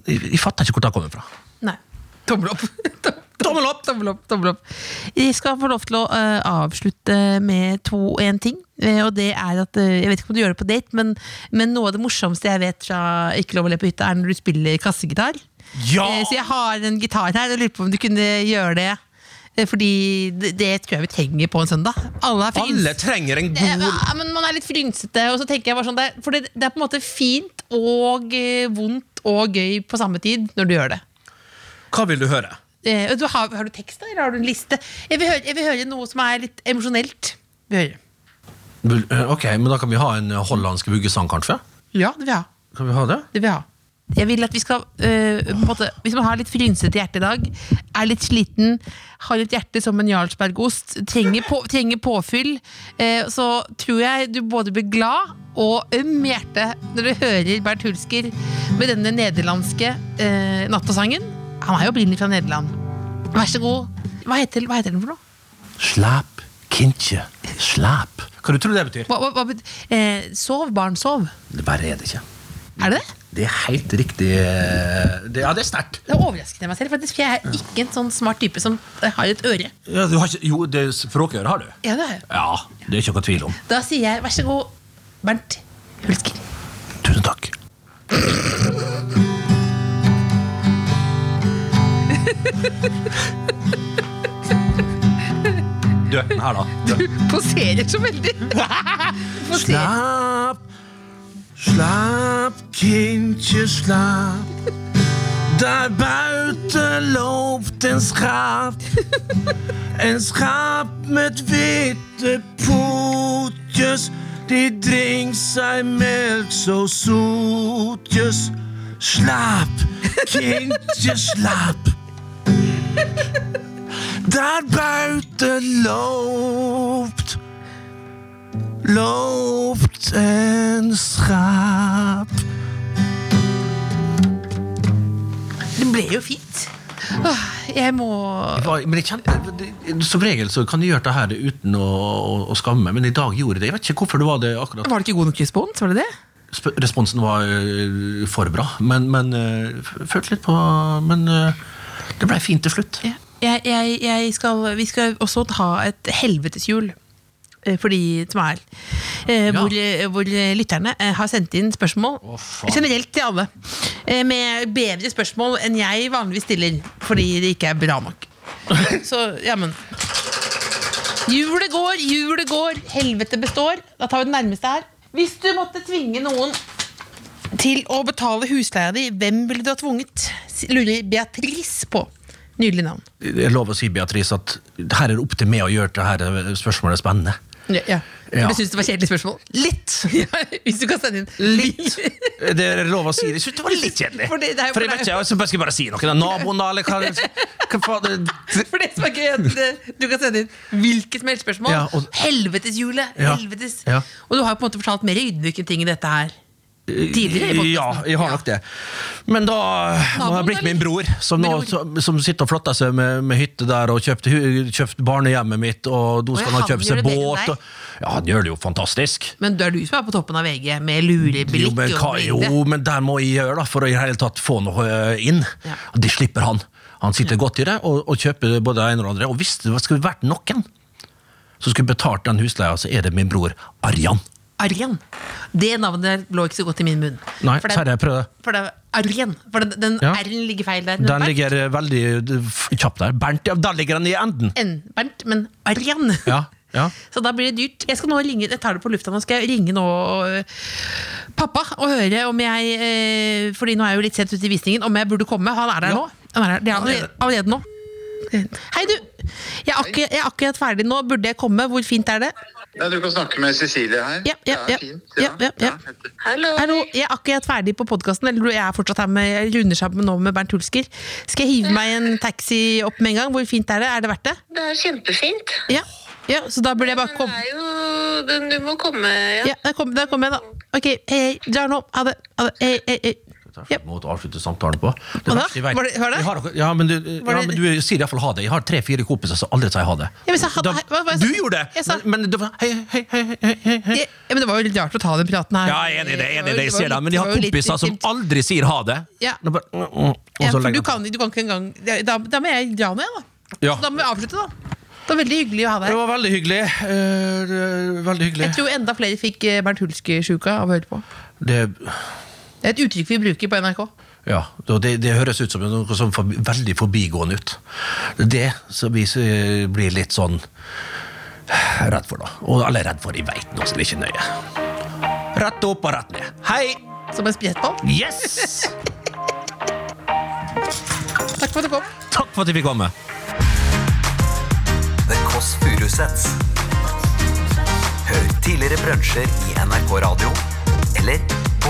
Speaker 3: jeg, jeg fatter ikke hvor det kommer fra.
Speaker 1: Nei. Tommel opp.
Speaker 3: Tommel opp!
Speaker 1: Tommel opp, tommel opp. Jeg skal få lov til å eh, avslutte med to og én ting. eh, og det er at, eh, Jeg vet ikke om du gjør det på date, men, men noe av det morsomste jeg vet fra Ikke lov å le på hytta, er når du spiller kassegitar.
Speaker 3: Ja!
Speaker 1: Eh, så jeg har en gitar her, og lurer på om du kunne gjøre det. Eh, fordi det, det tror jeg vi trenger på en søndag. Alle er fryns-
Speaker 3: Alle trenger en god
Speaker 1: ja, men man er litt frynsete, og så tenker jeg bare sånn det er, For det, det er på en måte fint og eh, vondt og gøy på samme tid når du gjør det.
Speaker 3: Hva vil du høre?
Speaker 1: Eh, du, har, har du tekst, da, eller har du en liste? Jeg vil høre, jeg vil høre noe som er litt emosjonelt. Vi hører.
Speaker 3: Vil- eh, Ok, men Da kan vi ha en eh, hollandsk vuggesang, kanskje?
Speaker 1: Ja, det vil jeg ha.
Speaker 3: Kan vi ha det?
Speaker 1: Det vil jeg ha. Jeg vil at vi skal, eh, på en måte, Hvis man har litt frynsete hjerte i dag, er litt sliten, har et hjerte som en jarlsbergost, trenger, på, trenger påfyll, eh, så tror jeg du både blir glad og øm i hjertet når du hører Bernt Hulsker med denne nederlandske eh, nattosangen. Han er jo opprinnelig fra Nederland. Vær så god, hva, heter, hva heter den for noe?
Speaker 3: Slap, kinkje, slap. Hva du tror det betyr?
Speaker 1: Hva, hva, hva, bet- eh, sov, barn, sov.
Speaker 3: Det bare er det ikke.
Speaker 1: Er det det?
Speaker 3: Det er helt riktig eh, det, Ja, det er sterkt.
Speaker 1: Det overrasker jeg meg selv, faktisk, for jeg er ikke en sånn smart type som har et øre.
Speaker 3: Ja, du har ikke, jo, det språkøret har du.
Speaker 1: Ja, det har jeg.
Speaker 3: Ja, det er ikke noe tvil om.
Speaker 1: Da sier jeg vær så god, Bernt Hulsker.
Speaker 3: Tusen (laughs) takk. Du, den her, da.
Speaker 1: Du poserer så veldig. Poserer.
Speaker 3: Slapp, slapp, kindje, slapp. Der buiten loopt een schaap. Een schaap met witte poetjes. Die drinkt zijn melk zo zoetjes. Slaap, kindje, slaap. Daar buiten loopt loopt en schaap.
Speaker 1: Det ble jo fint. Åh, Jeg må
Speaker 3: Men jeg kjenner, det- som regel så kan jeg gjøre det her uten å, å, å skamme meg, men i dag gjorde jeg det. Jeg vet ikke hvorfor det var det akkurat.
Speaker 1: Var det ikke god nok respons? var det det?
Speaker 3: Sp- Responsen var øh, for bra, men, men øh, f- følte litt på Men øh, det blei fint til slutt.
Speaker 1: Ja. Jeg, jeg, jeg skal, vi skal også ha et helveteshjul eh, for de som er eh,
Speaker 3: Ja.
Speaker 1: hvor, eh, hvor lytterne eh, har sendt inn spørsmål
Speaker 3: Å, faen.
Speaker 1: generelt til alle. eh, Med bedre spørsmål enn jeg vanligvis stiller, fordi det ikke er bra nok. Så, ja, men Hjulet går, hjulet går, helvete består. Da tar vi den nærmeste her. Hvis du måtte tvinge noen til å betale husleia di, hvem ville du ha tvunget? Lurer Beatrice på. Nydelig navn.
Speaker 3: Det er lov å si Beatrice, at det her er det opp til meg å gjøre det her eh, spørsmålet spennende.
Speaker 1: Ja, ja.
Speaker 3: Ja.
Speaker 1: Du synes det var kjedelig spørsmål? Litt! (laughs) Ja, hvis du kan sende inn
Speaker 3: Litt. (laughs)
Speaker 1: (laughs)
Speaker 3: Det er lov å si det. Jeg synes det var litt kjedelig.
Speaker 1: For det- det er jo-
Speaker 3: For jeg vet ikke, altså, jeg skal bare- skal bare si noe. Den Naboen, da, eller hva? hva faen-
Speaker 1: For det som er gøy, er at eh, du kan sende inn hvilket som helst spørsmål.
Speaker 3: Ja, og-
Speaker 1: Helveteshjulet!
Speaker 3: Ja,
Speaker 1: Helvetes.
Speaker 3: ja.
Speaker 1: Og du har jo på en måte fortalt mer ydmyke ting i dette her. Tidligere i podcasten.
Speaker 3: Eh, Ja, jeg har nok det. Men da nå har jeg blitt min bror, som, nå,
Speaker 1: Bror.
Speaker 3: som, som sitter og flotter seg med, med hytte der og kjøpt, hu- kjøpt barnehjemmet mitt, og nå
Speaker 1: Å,
Speaker 3: skal
Speaker 1: ja,
Speaker 3: han
Speaker 1: han
Speaker 3: kjøpe seg
Speaker 1: gjør det bedre enn
Speaker 3: båt.
Speaker 1: deg.
Speaker 3: Og, ja, han gjør det jo fantastisk.
Speaker 1: Men det er du som er på toppen av VG, med lureblikk
Speaker 3: Jo men, hva,
Speaker 1: og
Speaker 3: jo,
Speaker 1: brille.
Speaker 3: men der må jeg gjøre da, for å i det hele tatt få noe eh, inn.
Speaker 1: Ja.
Speaker 3: Og det slipper han. Han sitter godt i det og, og kjøper både det ene og det andre. Og hvis det skulle vært noen som skulle betalt den husleia, så er det min bror Arjan.
Speaker 1: Arjen. Det navnet lå ikke så godt i min munn.
Speaker 3: Nei,
Speaker 1: for
Speaker 3: Terje, prøv det.
Speaker 1: For det er Arjen. For den, den
Speaker 3: Ja.
Speaker 1: R-en ligger feil der.
Speaker 3: Den
Speaker 1: Bernt.
Speaker 3: ligger eh, veldig eh, f- kjapt der. Bernt, ja, der ligger den i enden.
Speaker 1: N, Bernt, men Arjen.
Speaker 3: Ja, ja.
Speaker 1: Så da blir det dyrt. Jeg skal nå ringe, jeg tar det på lufta nå, skal jeg ringe nå øh, pappa og høre om jeg øh, Fordi nå er jeg jo litt sent ute i visningen, om jeg burde komme. Han er der
Speaker 3: Ja.
Speaker 1: nå. Han er der. Det er allerede, allerede nå. Hei, du. Jeg er, akkurat, jeg er akkurat ferdig nå. Burde jeg komme? Hvor fint er det?
Speaker 5: Ja, du kan snakke med Cecilie her.
Speaker 1: Ja, ja,
Speaker 5: det
Speaker 1: ja.
Speaker 5: er fint.
Speaker 1: Ja, ja, ja.
Speaker 4: Hallo.
Speaker 1: Hallo, jeg er akkurat ferdig på podkasten. Eller jeg er fortsatt her med jeg runder sammen nå med Bernt Hulsker. Skal jeg hive meg i en taxi opp med en gang? Hvor fint er det? Er det verdt det?
Speaker 4: Det er kjempefint.
Speaker 1: Ja, ja så da burde jeg bare
Speaker 4: Men
Speaker 1: komme.
Speaker 4: det er jo den du må komme, ja.
Speaker 1: Ja, der kom, der kom jeg, da. Ok, hei, hei. Drar nå. Ha det. Ha det. Hei, hei, hei. Ja.
Speaker 3: måte å avslutte samtalen på. Det
Speaker 1: Hva da?
Speaker 3: verste jeg vet-
Speaker 1: Var det- var det?
Speaker 3: Jeg har, ja, men du, eh,
Speaker 1: Var
Speaker 3: ja,
Speaker 1: det-
Speaker 3: men du sier iallfall ha det. Jeg har tre-fire kompiser som aldri sier ha det.
Speaker 1: Ja, men så ha-
Speaker 3: Da-
Speaker 1: hei, hva- hva-
Speaker 3: du gjorde det!
Speaker 1: Jeg sa-
Speaker 3: Men, men det var hei, hei, hei, hei, hei, hei.
Speaker 1: Ja, men det var jo litt rart å ta den praten her.
Speaker 3: Ja, jeg er enig i det, jeg er enig i det, jeg
Speaker 1: var jo
Speaker 3: ser det. Men
Speaker 1: litt-
Speaker 3: jeg har
Speaker 1: det var jo litt
Speaker 3: kompiser som
Speaker 1: intimt.
Speaker 3: aldri sier ha det.
Speaker 1: Ja.
Speaker 3: Da bare, mm, mm, og
Speaker 1: ja,
Speaker 3: så
Speaker 1: for
Speaker 3: legger
Speaker 1: du
Speaker 3: han på.
Speaker 1: kan, du kan ikke engang da, da må jeg dra nå, jeg, da.
Speaker 3: Ja.
Speaker 1: Så da må vi avslutte, da. Det var veldig hyggelig å ha
Speaker 3: Det
Speaker 1: deg her.
Speaker 3: var veldig hyggelig. Eh, det- veldig hyggelig.
Speaker 1: Jeg tror enda flere fikk eh, Bernt Hulsker-sjuka av å høre på.
Speaker 3: Det,
Speaker 1: Det er et uttrykk vi bruker på NRK.
Speaker 3: ja, og det, det høres ut som noe som forbi, veldig forbigående ut. Det som vi eh, blir litt sånn eh, redd for, da. Og alle er redd for, de veit nå, så det er ikke nøye. Rett opp og rett ned. Hei!
Speaker 1: Som en sprettball.
Speaker 3: Yes!
Speaker 1: Takk for at du kom.
Speaker 3: Takk for at jeg fikk komme.
Speaker 2: The Kåss Furuseths. Hør tidligere brunsjer i NRK Radio eller på